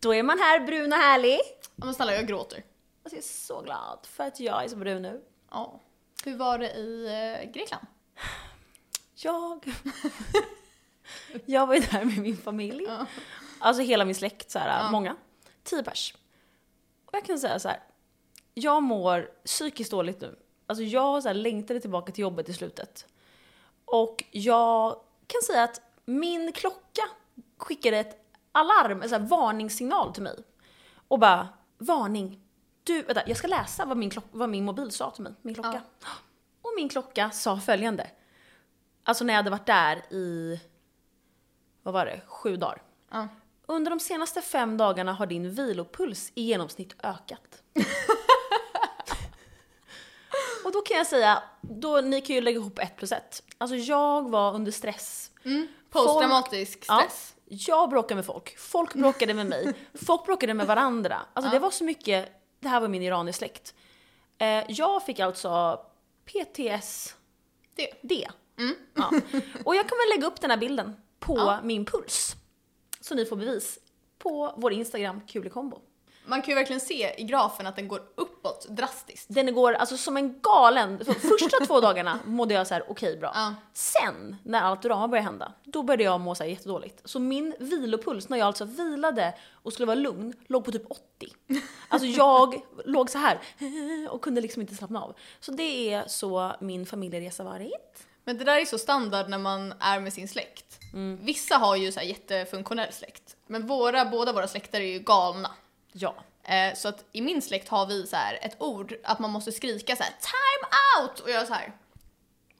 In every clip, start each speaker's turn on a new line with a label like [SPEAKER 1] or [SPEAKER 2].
[SPEAKER 1] Då är man här brun och härlig.
[SPEAKER 2] Ja, men snälla jag gråter.
[SPEAKER 1] Alltså jag är så glad för att jag är så brun nu.
[SPEAKER 2] Ja. Hur var det i eh, Grekland?
[SPEAKER 1] Jag... jag var ju där med min familj.
[SPEAKER 2] Ja.
[SPEAKER 1] Alltså hela min släkt, så här,
[SPEAKER 2] Ja.
[SPEAKER 1] många. Tio pers. Och jag kan säga så här. jag mår psykiskt dåligt nu. Alltså jag så här, längtade tillbaka till jobbet i slutet. Och jag kan säga att min klocka skickade ett alarm, en så här, varningssignal till mig. Och bara, varning. Du, vänta, jag ska läsa vad min, klock, vad min mobil sa till mig, min klocka. Och min klocka sa följande. Alltså när jag hade varit där i, vad var det, sju dagar.
[SPEAKER 2] Ja.
[SPEAKER 1] Under de senaste fem dagarna har din vilopuls i genomsnitt ökat. och då kan jag säga, då, ni kan ju lägga ihop ett plus ett. Alltså jag var under stress.
[SPEAKER 2] Mm. Posttraumatisk
[SPEAKER 1] Ja,
[SPEAKER 2] stress.
[SPEAKER 1] Alltså, jag bråkade med folk, folk bråkade med mig, folk bråkade med varandra. Alltså det var så mycket, det här var min iraniska släkt. Eh, jag fick alltså PTSD.
[SPEAKER 2] Det.
[SPEAKER 1] Mm. Ja. Och jag kommer lägga upp den här bilden på min puls. Så ni får bevis på vår Instagram, kulikombo.
[SPEAKER 2] Man kan ju verkligen se i grafen att den går uppåt drastiskt.
[SPEAKER 1] Den går alltså som en galen. Så Första två dagarna mådde jag så här, okej bra.
[SPEAKER 2] Ja.
[SPEAKER 1] Sen när allt drama började hända, då började jag må så här jättedåligt. Så min vilopuls när jag alltså vilade och skulle vara lugn låg på typ 80. Alltså jag låg så här och kunde liksom inte slappna av. Så det är så min familjeresa varit.
[SPEAKER 2] Men det där är så standard när man är med sin släkt. Vissa har ju så här jättefunktionell släkt. Men våra, båda våra släkter är ju galna.
[SPEAKER 1] Ja.
[SPEAKER 2] Eh, så att i min släkt har vi så här ett ord att man måste skrika så här time out och göra så här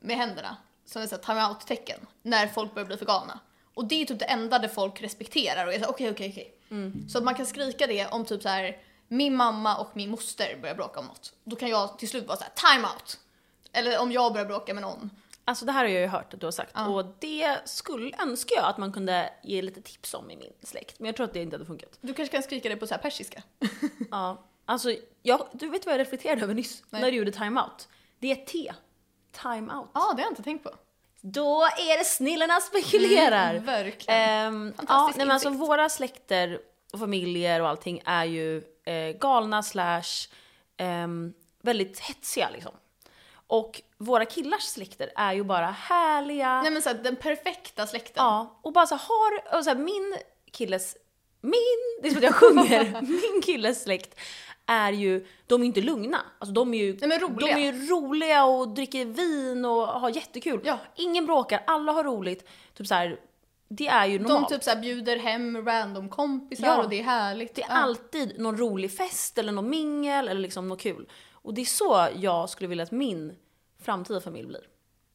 [SPEAKER 2] med händerna som ett så här time out tecken när folk börjar bli för galna. Och det är typ det enda där folk respekterar och är så här, okej okej okej. Så att man kan skrika det om typ så här min mamma och min moster börjar bråka om något. Då kan jag till slut vara så här time out. Eller om jag börjar bråka med någon.
[SPEAKER 1] Alltså det här har jag ju hört att du har sagt och det skulle önska jag att man kunde ge lite tips om i min släkt. Men jag tror att det inte hade funkat.
[SPEAKER 2] Du kanske kan skrika det på så här persiska.
[SPEAKER 1] Ja, alltså jag, du vet vad jag reflekterade över nyss
[SPEAKER 2] Nej.
[SPEAKER 1] när du gjorde time-out? Det är T. Time-out.
[SPEAKER 2] Ja, det har jag inte tänkt på.
[SPEAKER 1] Ah. Då är det snillena spekulerar!
[SPEAKER 2] Mm, verkligen.
[SPEAKER 1] Ehm, ja,
[SPEAKER 2] Fantastisk
[SPEAKER 1] nej, men alltså
[SPEAKER 2] insikt.
[SPEAKER 1] våra släkter och familjer och allting är ju eh, galna slash ehm, väldigt hetsiga liksom. Och våra killars släkter är ju bara härliga,
[SPEAKER 2] Nej men så här, den perfekta släkten.
[SPEAKER 1] Ja, och bara så har, och så här, min killes, min, det är som att jag sjunger, min killes släkt är ju, de är ju inte lugna. Alltså de är ju,
[SPEAKER 2] Nej, men roliga.
[SPEAKER 1] De är ju roliga och dricker vin och har jättekul.
[SPEAKER 2] Ja.
[SPEAKER 1] Ingen bråkar, alla har roligt. Typ så här, det är ju
[SPEAKER 2] De
[SPEAKER 1] normalt.
[SPEAKER 2] typ så här bjuder hem random kompisar
[SPEAKER 1] Ja.
[SPEAKER 2] och det är härligt.
[SPEAKER 1] Det är
[SPEAKER 2] Ja.
[SPEAKER 1] alltid någon rolig fest eller någon mingel eller liksom något kul. Och det är så jag skulle vilja att min framtida familj blir.
[SPEAKER 2] Mm.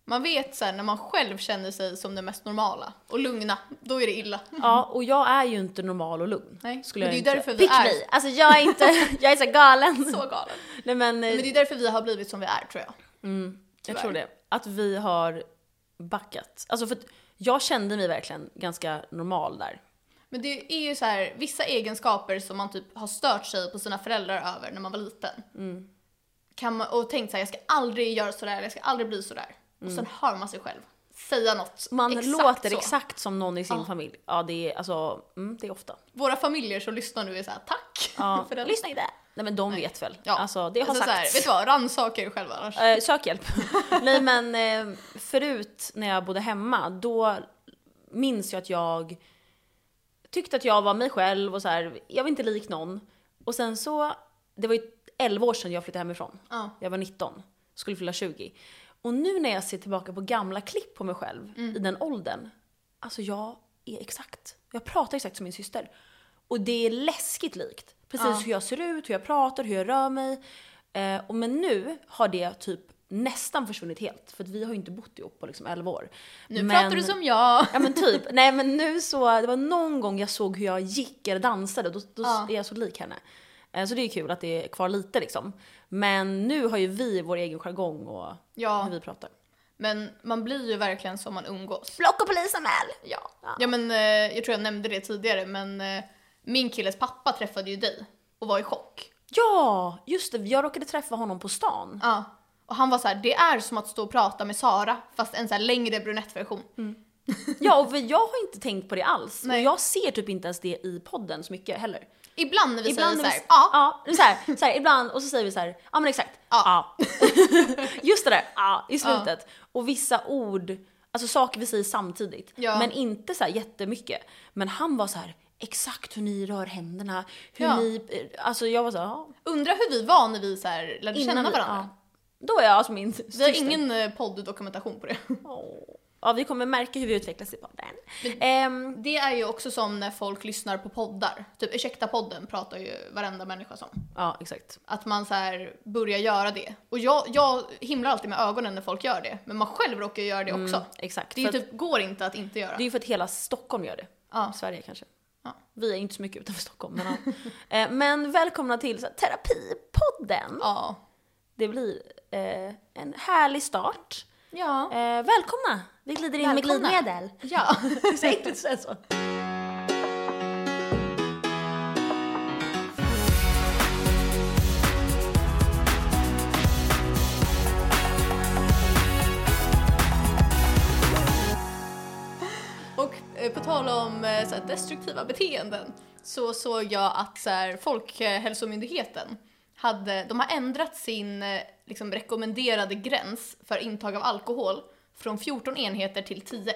[SPEAKER 2] Man vet så här, när man själv känner sig som den mest normala och lugna, då är det illa.
[SPEAKER 1] Ja, och jag är ju inte normal och lugn.
[SPEAKER 2] Nej,
[SPEAKER 1] Skulle
[SPEAKER 2] men
[SPEAKER 1] jag
[SPEAKER 2] det är ju
[SPEAKER 1] inte säga.
[SPEAKER 2] därför vi
[SPEAKER 1] Pick
[SPEAKER 2] är-
[SPEAKER 1] me! Alltså jag är inte, jag är så galen.
[SPEAKER 2] Så galen.
[SPEAKER 1] Nej men, eh,
[SPEAKER 2] Men det är därför vi har blivit som vi är tror jag.
[SPEAKER 1] jag tror det. Att vi har backat. Alltså för att jag kände mig verkligen ganska normal där.
[SPEAKER 2] Men det är ju så här, vissa egenskaper som man typ har stört sig på sina föräldrar över när man var liten.
[SPEAKER 1] Mm.
[SPEAKER 2] Kan man, och tänkt så här, jag ska aldrig göra sådär, jag ska aldrig bli sådär. Och sen hör man sig själv säga något.
[SPEAKER 1] Mm. Man låter
[SPEAKER 2] så.
[SPEAKER 1] exakt som någon i sin familj. Ja det är alltså, mm, det är ofta.
[SPEAKER 2] Våra familjer som lyssnar nu är så här, tack
[SPEAKER 1] Ja.
[SPEAKER 2] för den.
[SPEAKER 1] Lyssna inte! Nej men de vet väl.
[SPEAKER 2] Ja.
[SPEAKER 1] Alltså det har
[SPEAKER 2] Alltså så här,
[SPEAKER 1] sagts.
[SPEAKER 2] vet du vad, rannsaka er själva annars.
[SPEAKER 1] Eh, sök hjälp. Nej men eh, förut när jag bodde hemma då minns jag att jag tyckte att jag var mig själv och så här, jag var inte lik någon. Och sen så, det var ju 11 år sedan jag flyttade hemifrån.
[SPEAKER 2] Ja.
[SPEAKER 1] Jag var 19, skulle fylla 20. Och nu när jag ser tillbaka på gamla klipp på mig själv
[SPEAKER 2] Mm.
[SPEAKER 1] i den åldern. Alltså jag är exakt, jag pratar exakt som min syster. Och det är läskigt likt. Precis hur jag ser ut, hur jag pratar, hur jag rör mig. Eh, och men nu har det typ nästan försvunnit helt. För att vi har ju inte bott ihop på liksom 11 år.
[SPEAKER 2] Nu pratar du som jag.
[SPEAKER 1] Ja men typ. Nej men nu så, det var någon gång jag såg hur jag gick eller dansade, då, då
[SPEAKER 2] Ja.
[SPEAKER 1] är jag så lik henne. Eh, Så det är kul att det är kvar lite liksom. Men nu har ju vi vår egen jargong och
[SPEAKER 2] Ja,
[SPEAKER 1] hur vi pratar.
[SPEAKER 2] men man blir ju verkligen som man umgås.
[SPEAKER 1] Block och polisanmäl!
[SPEAKER 2] Ja. ja men eh, jag tror jag nämnde det tidigare men eh, min killes pappa träffade ju dig och var i chock.
[SPEAKER 1] Ja, just det. Jag råkade träffa honom på stan. Mm.
[SPEAKER 2] Ja. Och han var så här: det är som att stå och prata med Sara fast en så här längre brunettversion.
[SPEAKER 1] Ja, och vi, jag har inte tänkt på det alls.
[SPEAKER 2] Nej.
[SPEAKER 1] Och jag ser typ inte ens det i podden så mycket heller.
[SPEAKER 2] Ibland när vi
[SPEAKER 1] Ibland
[SPEAKER 2] säger
[SPEAKER 1] när
[SPEAKER 2] så
[SPEAKER 1] vi-
[SPEAKER 2] här, ja,
[SPEAKER 1] ja så här, så här, ibland och så säger vi så här, ja men exakt,
[SPEAKER 2] Ja.
[SPEAKER 1] ja. Just det där, ja, i slutet. Och vissa ord, alltså saker vi säger samtidigt.
[SPEAKER 2] Ja.
[SPEAKER 1] Men inte så här jättemycket. Men han var så här, exakt hur ni rör händerna, hur
[SPEAKER 2] Ja.
[SPEAKER 1] ni, alltså jag var så här, ja.
[SPEAKER 2] undrar hur vi var när vi så här lärde
[SPEAKER 1] Innan
[SPEAKER 2] känna
[SPEAKER 1] vi-
[SPEAKER 2] varandra.
[SPEAKER 1] ja. Då är jag alltså min
[SPEAKER 2] Vi har ingen eh, podd-dokumentation på det.
[SPEAKER 1] Ja, vi kommer märka hur vi utvecklas i podden. Ehm,
[SPEAKER 2] Det är ju också som när folk lyssnar på poddar. Typ ursäkta podden pratar ju varenda människa som.
[SPEAKER 1] ja, exakt.
[SPEAKER 2] Att man så här börjar göra det. Och jag, jag himlar alltid med ögonen när folk gör det. Men man själv råkar ju göra det också.
[SPEAKER 1] Exakt.
[SPEAKER 2] Det är ju
[SPEAKER 1] Mm. för att-
[SPEAKER 2] typ, går inte att inte göra.
[SPEAKER 1] det är ju för att hela Stockholm gör det.
[SPEAKER 2] Ja.
[SPEAKER 1] Sverige kanske.
[SPEAKER 2] Ja.
[SPEAKER 1] Vi är inte så mycket utanför Stockholm. Men, ja. Eh, men välkomna till så här, Terapipodden.
[SPEAKER 2] Ja.
[SPEAKER 1] Det blir eh, en härlig start.
[SPEAKER 2] Ja.
[SPEAKER 1] Eh, välkomna! Vi glider in
[SPEAKER 2] Välkomna.
[SPEAKER 1] med glidmedel.
[SPEAKER 2] Ja.
[SPEAKER 1] Säg inte så. här så.
[SPEAKER 2] eh, Och eh, på tal om eh, så här, destruktiva beteenden så såg jag att så här, Folkhälsomyndigheten hade, de har ändrat sin eh, liksom, rekommenderade gräns för intag av alkohol från 14 enheter till 10.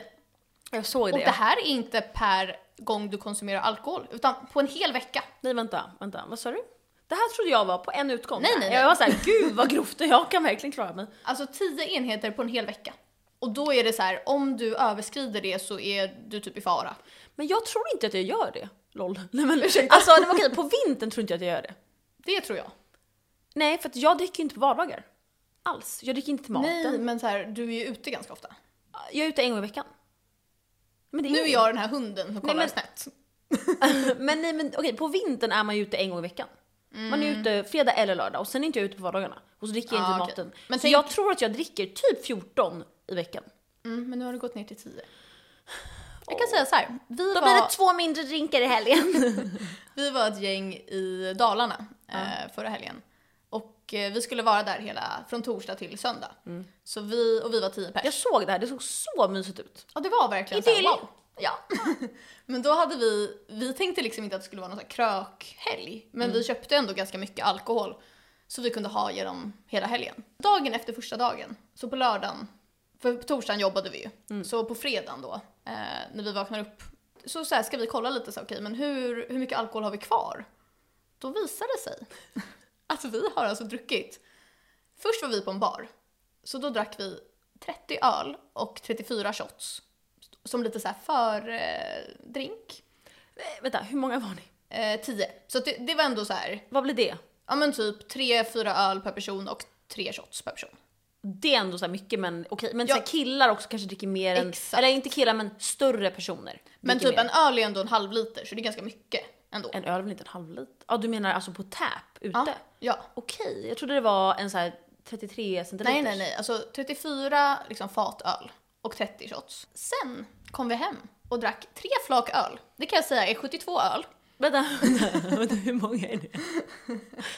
[SPEAKER 1] Jag såg
[SPEAKER 2] Och
[SPEAKER 1] det.
[SPEAKER 2] det här är inte per gång du konsumerar alkohol, utan på en hel vecka.
[SPEAKER 1] Nej vänta, vänta, vad sa du? Det här trodde jag var på en utgång.
[SPEAKER 2] Nej, nej, nej.
[SPEAKER 1] Jag var såhär, gud vad grovt, jag kan verkligen klara mig.
[SPEAKER 2] Alltså 10 enheter på en hel vecka. Och då är det så här, om du överskrider det så är du typ i fara.
[SPEAKER 1] Men jag tror inte att jag gör det. LOL. Nej men alltså nej, men okej, på vintern tror inte jag att jag gör det.
[SPEAKER 2] Det tror jag.
[SPEAKER 1] Nej för att jag dricker ju inte på vardagar. Alls. Jag dricker inte till maten.
[SPEAKER 2] Nej, men så här, du är ju ute ganska ofta.
[SPEAKER 1] Jag är ute en gång i veckan. Men det
[SPEAKER 2] Nu är jag den här hunden som kollar
[SPEAKER 1] men-
[SPEAKER 2] snett.
[SPEAKER 1] Men nej men okej, på vintern är man ju ute en gång i veckan. Man är ute fredag eller lördag och sen är inte jag ute på vardagarna. Och så dricker jag
[SPEAKER 2] Ah,
[SPEAKER 1] inte
[SPEAKER 2] okej.
[SPEAKER 1] maten.
[SPEAKER 2] Men
[SPEAKER 1] så
[SPEAKER 2] tänk-
[SPEAKER 1] jag tror att jag dricker typ 14 i veckan.
[SPEAKER 2] Mm, men nu har det gått ner till 10. Jag kan säga så här. Vi,
[SPEAKER 1] Då blir det
[SPEAKER 2] var,
[SPEAKER 1] två mindre drinkar i helgen.
[SPEAKER 2] vi var ett gäng i Dalarna eh, förra helgen. Och eh, vi skulle vara där hela, från torsdag till söndag.
[SPEAKER 1] Mm.
[SPEAKER 2] Så vi, och vi var 10 pers.
[SPEAKER 1] jag såg det här, det såg så mysigt ut.
[SPEAKER 2] Ja det var verkligen
[SPEAKER 1] Idyll.
[SPEAKER 2] wow. Ja. men då hade vi, vi tänkte liksom inte att det skulle vara någon sån här krökhelg. Men vi köpte ändå ganska mycket alkohol. Så vi kunde ha genom hela helgen. Dagen efter första dagen, så på lördagen, för på torsdagen jobbade vi ju. Så på fredagen då, eh, när vi vaknar upp, så, så här ska vi kolla lite så okej men hur, hur mycket alkohol har vi kvar? Då visar det sig att vi har alltså druckit, först var vi på en bar. Så då drack vi 30 öl och 34 shots. Som lite så här för eh, drink.
[SPEAKER 1] Eh, vänta, hur många var ni?
[SPEAKER 2] Eh, 10. Så att det, det var ändå så här,
[SPEAKER 1] Vad blir det?
[SPEAKER 2] ja men typ 3-4 öl per person och 3 shots per person.
[SPEAKER 1] Det är ändå så här mycket men okej, men
[SPEAKER 2] Ja.
[SPEAKER 1] så här killar också kanske dricker mer än,
[SPEAKER 2] Exakt.
[SPEAKER 1] eller inte killar men större personer.
[SPEAKER 2] Men
[SPEAKER 1] dricker
[SPEAKER 2] typ
[SPEAKER 1] mer.
[SPEAKER 2] en öl är ändå en halv liter så det är ganska mycket ändå.
[SPEAKER 1] En öl är väl inte en halv liter? Ja du menar alltså på tap ute?
[SPEAKER 2] Ja, ja.
[SPEAKER 1] Okej, jag trodde det var en så här 33 centiliter.
[SPEAKER 2] Nej nej nej, alltså 34 liksom, fat öl och 30 shots. Sen kom vi hem och drack tre flak öl. Det kan jag säga är 72 öl,
[SPEAKER 1] Vänta, vänta, vänta, hur många är det?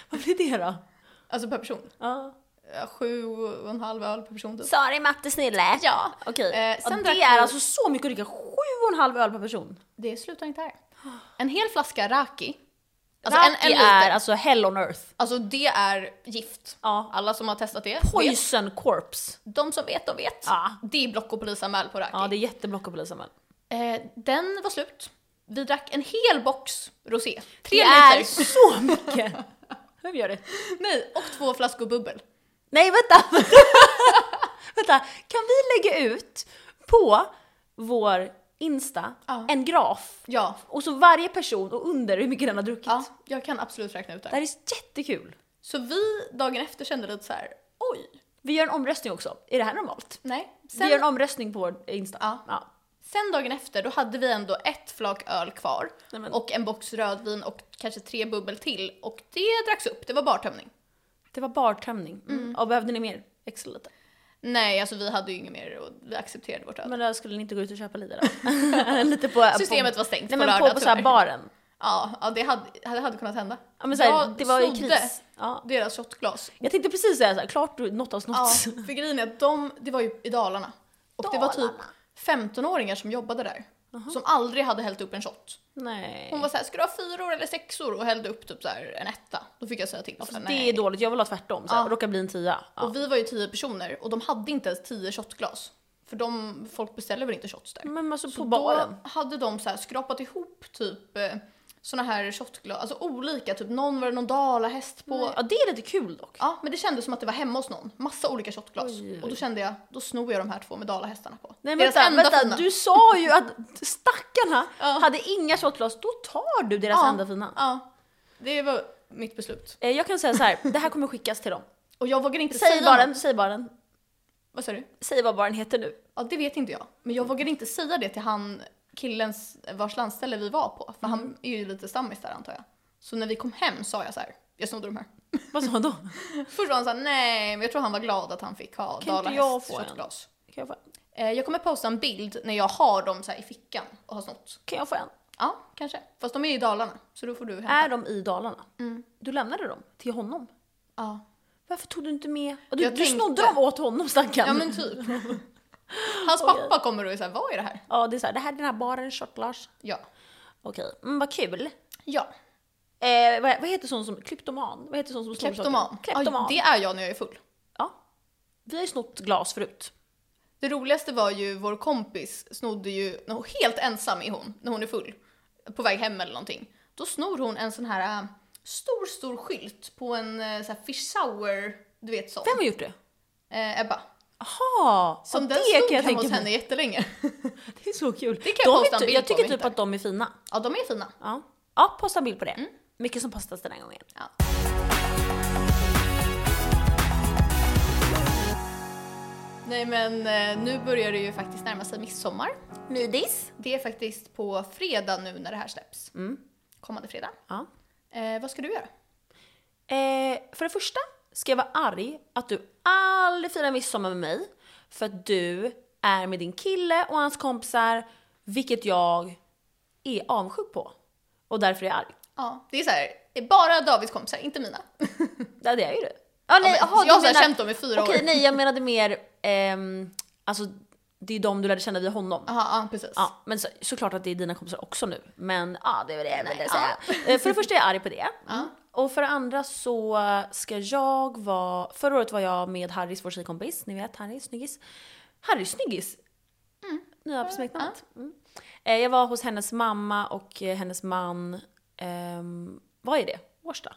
[SPEAKER 1] Vad blir det då?
[SPEAKER 2] alltså per person.
[SPEAKER 1] Ja.
[SPEAKER 2] Eh, Sju och en halv öl per person typ.
[SPEAKER 1] Sorry matte snille.
[SPEAKER 2] Ja,
[SPEAKER 1] Okej,
[SPEAKER 2] Eh, sen
[SPEAKER 1] ja,
[SPEAKER 2] drack
[SPEAKER 1] det
[SPEAKER 2] vi-
[SPEAKER 1] är alltså så mycket att dricka sju och en halv öl per person.
[SPEAKER 2] Det slutar inte här. En hel flaska raki.
[SPEAKER 1] Alltså
[SPEAKER 2] Alltså
[SPEAKER 1] Raki
[SPEAKER 2] en, en
[SPEAKER 1] är
[SPEAKER 2] liter.
[SPEAKER 1] alltså hell on earth.
[SPEAKER 2] Alltså det är gift.
[SPEAKER 1] Ja.
[SPEAKER 2] Alla som har testat det vet.
[SPEAKER 1] Poison corpse.
[SPEAKER 2] De som vet, de vet.
[SPEAKER 1] Ja.
[SPEAKER 2] Det är block och polisanmäl på raki.
[SPEAKER 1] Ja det är jätteblock och polisanmälan.
[SPEAKER 2] eh, den var slut. Vi drack en hel box rosé. Tre
[SPEAKER 1] Det
[SPEAKER 2] liter.
[SPEAKER 1] är så mycket! Vem gör det?
[SPEAKER 2] Nej, och två flaskor bubbel.
[SPEAKER 1] Nej vänta! vänta, kan vi lägga ut på vår Insta
[SPEAKER 2] Ja.
[SPEAKER 1] en graf?
[SPEAKER 2] Ja.
[SPEAKER 1] Och så varje person och under hur mycket den har druckit.
[SPEAKER 2] ja, jag kan absolut räkna ut det
[SPEAKER 1] Det
[SPEAKER 2] här.
[SPEAKER 1] här är jättekul.
[SPEAKER 2] Så vi dagen efter kände lite så här, oj,
[SPEAKER 1] Vi gör en omröstning också. Är det här normalt?
[SPEAKER 2] nej.
[SPEAKER 1] Vi gör en omröstning på vår Insta.
[SPEAKER 2] Ja. Sen dagen efter, då hade vi ändå ett flak öl kvar
[SPEAKER 1] Nej, men-
[SPEAKER 2] och en box rödvin och kanske tre bubbel till och det dracks upp, det var bartömning.
[SPEAKER 1] Det var bartömning. Mm. Och behövde ni mer? Extra lite.
[SPEAKER 2] Nej, alltså vi hade ju inget mer och vi accepterade vårt öl.
[SPEAKER 1] Men då skulle ni inte gå ut och köpa lite då? lite på...
[SPEAKER 2] Systemet
[SPEAKER 1] på,
[SPEAKER 2] var stängt
[SPEAKER 1] Nej
[SPEAKER 2] på
[SPEAKER 1] men
[SPEAKER 2] lördag
[SPEAKER 1] på, på så här
[SPEAKER 2] tyvärr.
[SPEAKER 1] baren.
[SPEAKER 2] Ja, ja det, hade, det hade kunnat hända.
[SPEAKER 1] Ja men så här,
[SPEAKER 2] jag
[SPEAKER 1] det var ju
[SPEAKER 2] snodde
[SPEAKER 1] kris. Ja.
[SPEAKER 2] deras shotglas.
[SPEAKER 1] Jag tänkte precis säga såhär, klart du något har
[SPEAKER 2] Ja,
[SPEAKER 1] snott.
[SPEAKER 2] för grejen är att de, det var ju i Dalarna. Och det var typ
[SPEAKER 1] Dalarna.
[SPEAKER 2] 15-åringar som jobbade där. Som aldrig hade hällt upp en shot.
[SPEAKER 1] Nej.
[SPEAKER 2] Hon var såhär, ska du ha fyror eller sexor? Och hällde upp typ så här en etta. Då fick jag säga till. Så här,
[SPEAKER 1] Alltså, det är dåligt, jag vill ha tvärtom. Så här,
[SPEAKER 2] Ja.
[SPEAKER 1] Råkar bli en tia. Ja.
[SPEAKER 2] Och vi var ju tio personer och de hade inte ens tio shotglas. För de, folk beställer väl inte shots där.
[SPEAKER 1] Men alltså på
[SPEAKER 2] då
[SPEAKER 1] baren.
[SPEAKER 2] hade de så här skrapat ihop typ eh, såna här shotglas, alltså olika, typ någon var det någon dalahäst på.
[SPEAKER 1] Ja, det är lite kul dock.
[SPEAKER 2] Ja, men det kändes som att det var hemma hos någon. Massa olika shotglas.
[SPEAKER 1] Oj, oj.
[SPEAKER 2] Och då kände jag, då snor jag de här två med dalahästarna på.
[SPEAKER 1] Nej
[SPEAKER 2] Deras
[SPEAKER 1] vänta,
[SPEAKER 2] enda
[SPEAKER 1] vänta.
[SPEAKER 2] fina.
[SPEAKER 1] du sa ju att stackarna
[SPEAKER 2] Ja.
[SPEAKER 1] hade inga shotglas, då tar du deras
[SPEAKER 2] Ja.
[SPEAKER 1] enda fina.
[SPEAKER 2] Ja, det var mitt beslut.
[SPEAKER 1] Eh, Jag kan säga så här, det här kommer skickas till dem.
[SPEAKER 2] Och jag vågar inte
[SPEAKER 1] Säg
[SPEAKER 2] säga
[SPEAKER 1] bara
[SPEAKER 2] något.
[SPEAKER 1] den, säg bara den.
[SPEAKER 2] Vad sa du?
[SPEAKER 1] Säg vad baren heter nu.
[SPEAKER 2] Ja, det vet inte jag. Men jag vågar inte säga det till han killens vars landställe vi var på.
[SPEAKER 1] Mm.
[SPEAKER 2] För han är ju lite stammis där antar jag. Så när vi kom hem sa jag så här, jag snodde de här.
[SPEAKER 1] Vad sa han då?
[SPEAKER 2] Först var han såhär, nej, men jag tror han var glad att han fick ha
[SPEAKER 1] Kan inte
[SPEAKER 2] dalahäst-
[SPEAKER 1] jag få en?
[SPEAKER 2] shotglas."
[SPEAKER 1] Kan jag få,
[SPEAKER 2] Eh, Jag kommer posta en bild när jag har dem så här i fickan och har snott.
[SPEAKER 1] kan jag få en?
[SPEAKER 2] Ja, kanske. Fast de är i Dalarna, så då får du hämta.
[SPEAKER 1] Är de i Dalarna?
[SPEAKER 2] Mm.
[SPEAKER 1] Du lämnade dem till honom.
[SPEAKER 2] Ja.
[SPEAKER 1] Varför tog du inte med? Och Du,
[SPEAKER 2] Jag
[SPEAKER 1] du
[SPEAKER 2] tänkte-
[SPEAKER 1] snodde dem åt honom stackarn.
[SPEAKER 2] ja, men typ. Hans pappa kommer och är såhär, vad är det här?
[SPEAKER 1] Ja, det är så här, det här är den här baren, shotglas.
[SPEAKER 2] Ja.
[SPEAKER 1] Okej, mm, vad kul.
[SPEAKER 2] Ja.
[SPEAKER 1] Eh, vad, vad heter sån som, klyptoman? Vad heter sån som snor saker?
[SPEAKER 2] Kleptoman.
[SPEAKER 1] Kleptoman.
[SPEAKER 2] Ja, det är jag när jag är full.
[SPEAKER 1] Ja. Vi har ju snott glas förut.
[SPEAKER 2] Det roligaste var ju vår kompis snodde ju, när hon, helt ensam är hon, när hon är full. På väg hem eller någonting. Då snor hon en sån här äh, stor, stor skylt på en äh, sån här fish sour, du vet sån.
[SPEAKER 1] Vem har gjort det?
[SPEAKER 2] Eh, Ebba.
[SPEAKER 1] Jaha!
[SPEAKER 2] Som
[SPEAKER 1] ja,
[SPEAKER 2] den
[SPEAKER 1] det
[SPEAKER 2] stod
[SPEAKER 1] kan jag
[SPEAKER 2] hemma
[SPEAKER 1] tänka
[SPEAKER 2] hos henne
[SPEAKER 1] mig.
[SPEAKER 2] jättelänge.
[SPEAKER 1] Det är så kul.
[SPEAKER 2] kan jag
[SPEAKER 1] de
[SPEAKER 2] posta
[SPEAKER 1] är
[SPEAKER 2] en
[SPEAKER 1] typ,
[SPEAKER 2] bild
[SPEAKER 1] jag
[SPEAKER 2] på
[SPEAKER 1] tycker
[SPEAKER 2] om jag
[SPEAKER 1] typ att de är fina.
[SPEAKER 2] ja, de är fina.
[SPEAKER 1] Ja, ja posta en bild på det.
[SPEAKER 2] Mm.
[SPEAKER 1] Mycket som postas den här gången.
[SPEAKER 2] Ja. Nej men eh, nu börjar det ju faktiskt närma sig midsommar.
[SPEAKER 1] Midis.
[SPEAKER 2] Det är faktiskt på fredag nu när det här släpps.
[SPEAKER 1] Mm.
[SPEAKER 2] Kommande fredag.
[SPEAKER 1] Ja.
[SPEAKER 2] Eh, vad ska du göra?
[SPEAKER 1] Eh, för det första ska jag vara arg att du aldrig firar midsommar med mig för att du är med din kille och hans kompisar, vilket jag är avundsjuk på. Och därför är jag arg.
[SPEAKER 2] Ja, det är så här, det är bara Davids kompisar, inte mina.
[SPEAKER 1] Ja, det är ju du. Ja, nej,
[SPEAKER 2] men
[SPEAKER 1] aha,
[SPEAKER 2] jag har
[SPEAKER 1] du
[SPEAKER 2] så här
[SPEAKER 1] menar-
[SPEAKER 2] känt dem i fyra
[SPEAKER 1] Okej,
[SPEAKER 2] år.
[SPEAKER 1] nej jag menade mer, ehm, alltså det är de du lärde känna via honom.
[SPEAKER 2] Aha, ja, precis.
[SPEAKER 1] Ja, men så, såklart att det är dina kompisar också nu. Men ja, det är väl det jag ville
[SPEAKER 2] Nej,
[SPEAKER 1] säga. Eh, För det första är jag arg på det. Och för det andra så ska jag vara, förra året var jag med Harrys, vår tjejkompis, ni vet Harry, snyggis. Harry, snyggis! Nya smeknamnet. Mm. Eh, Jag var hos hennes mamma och eh, hennes man, ehm, vad är det? Årsta?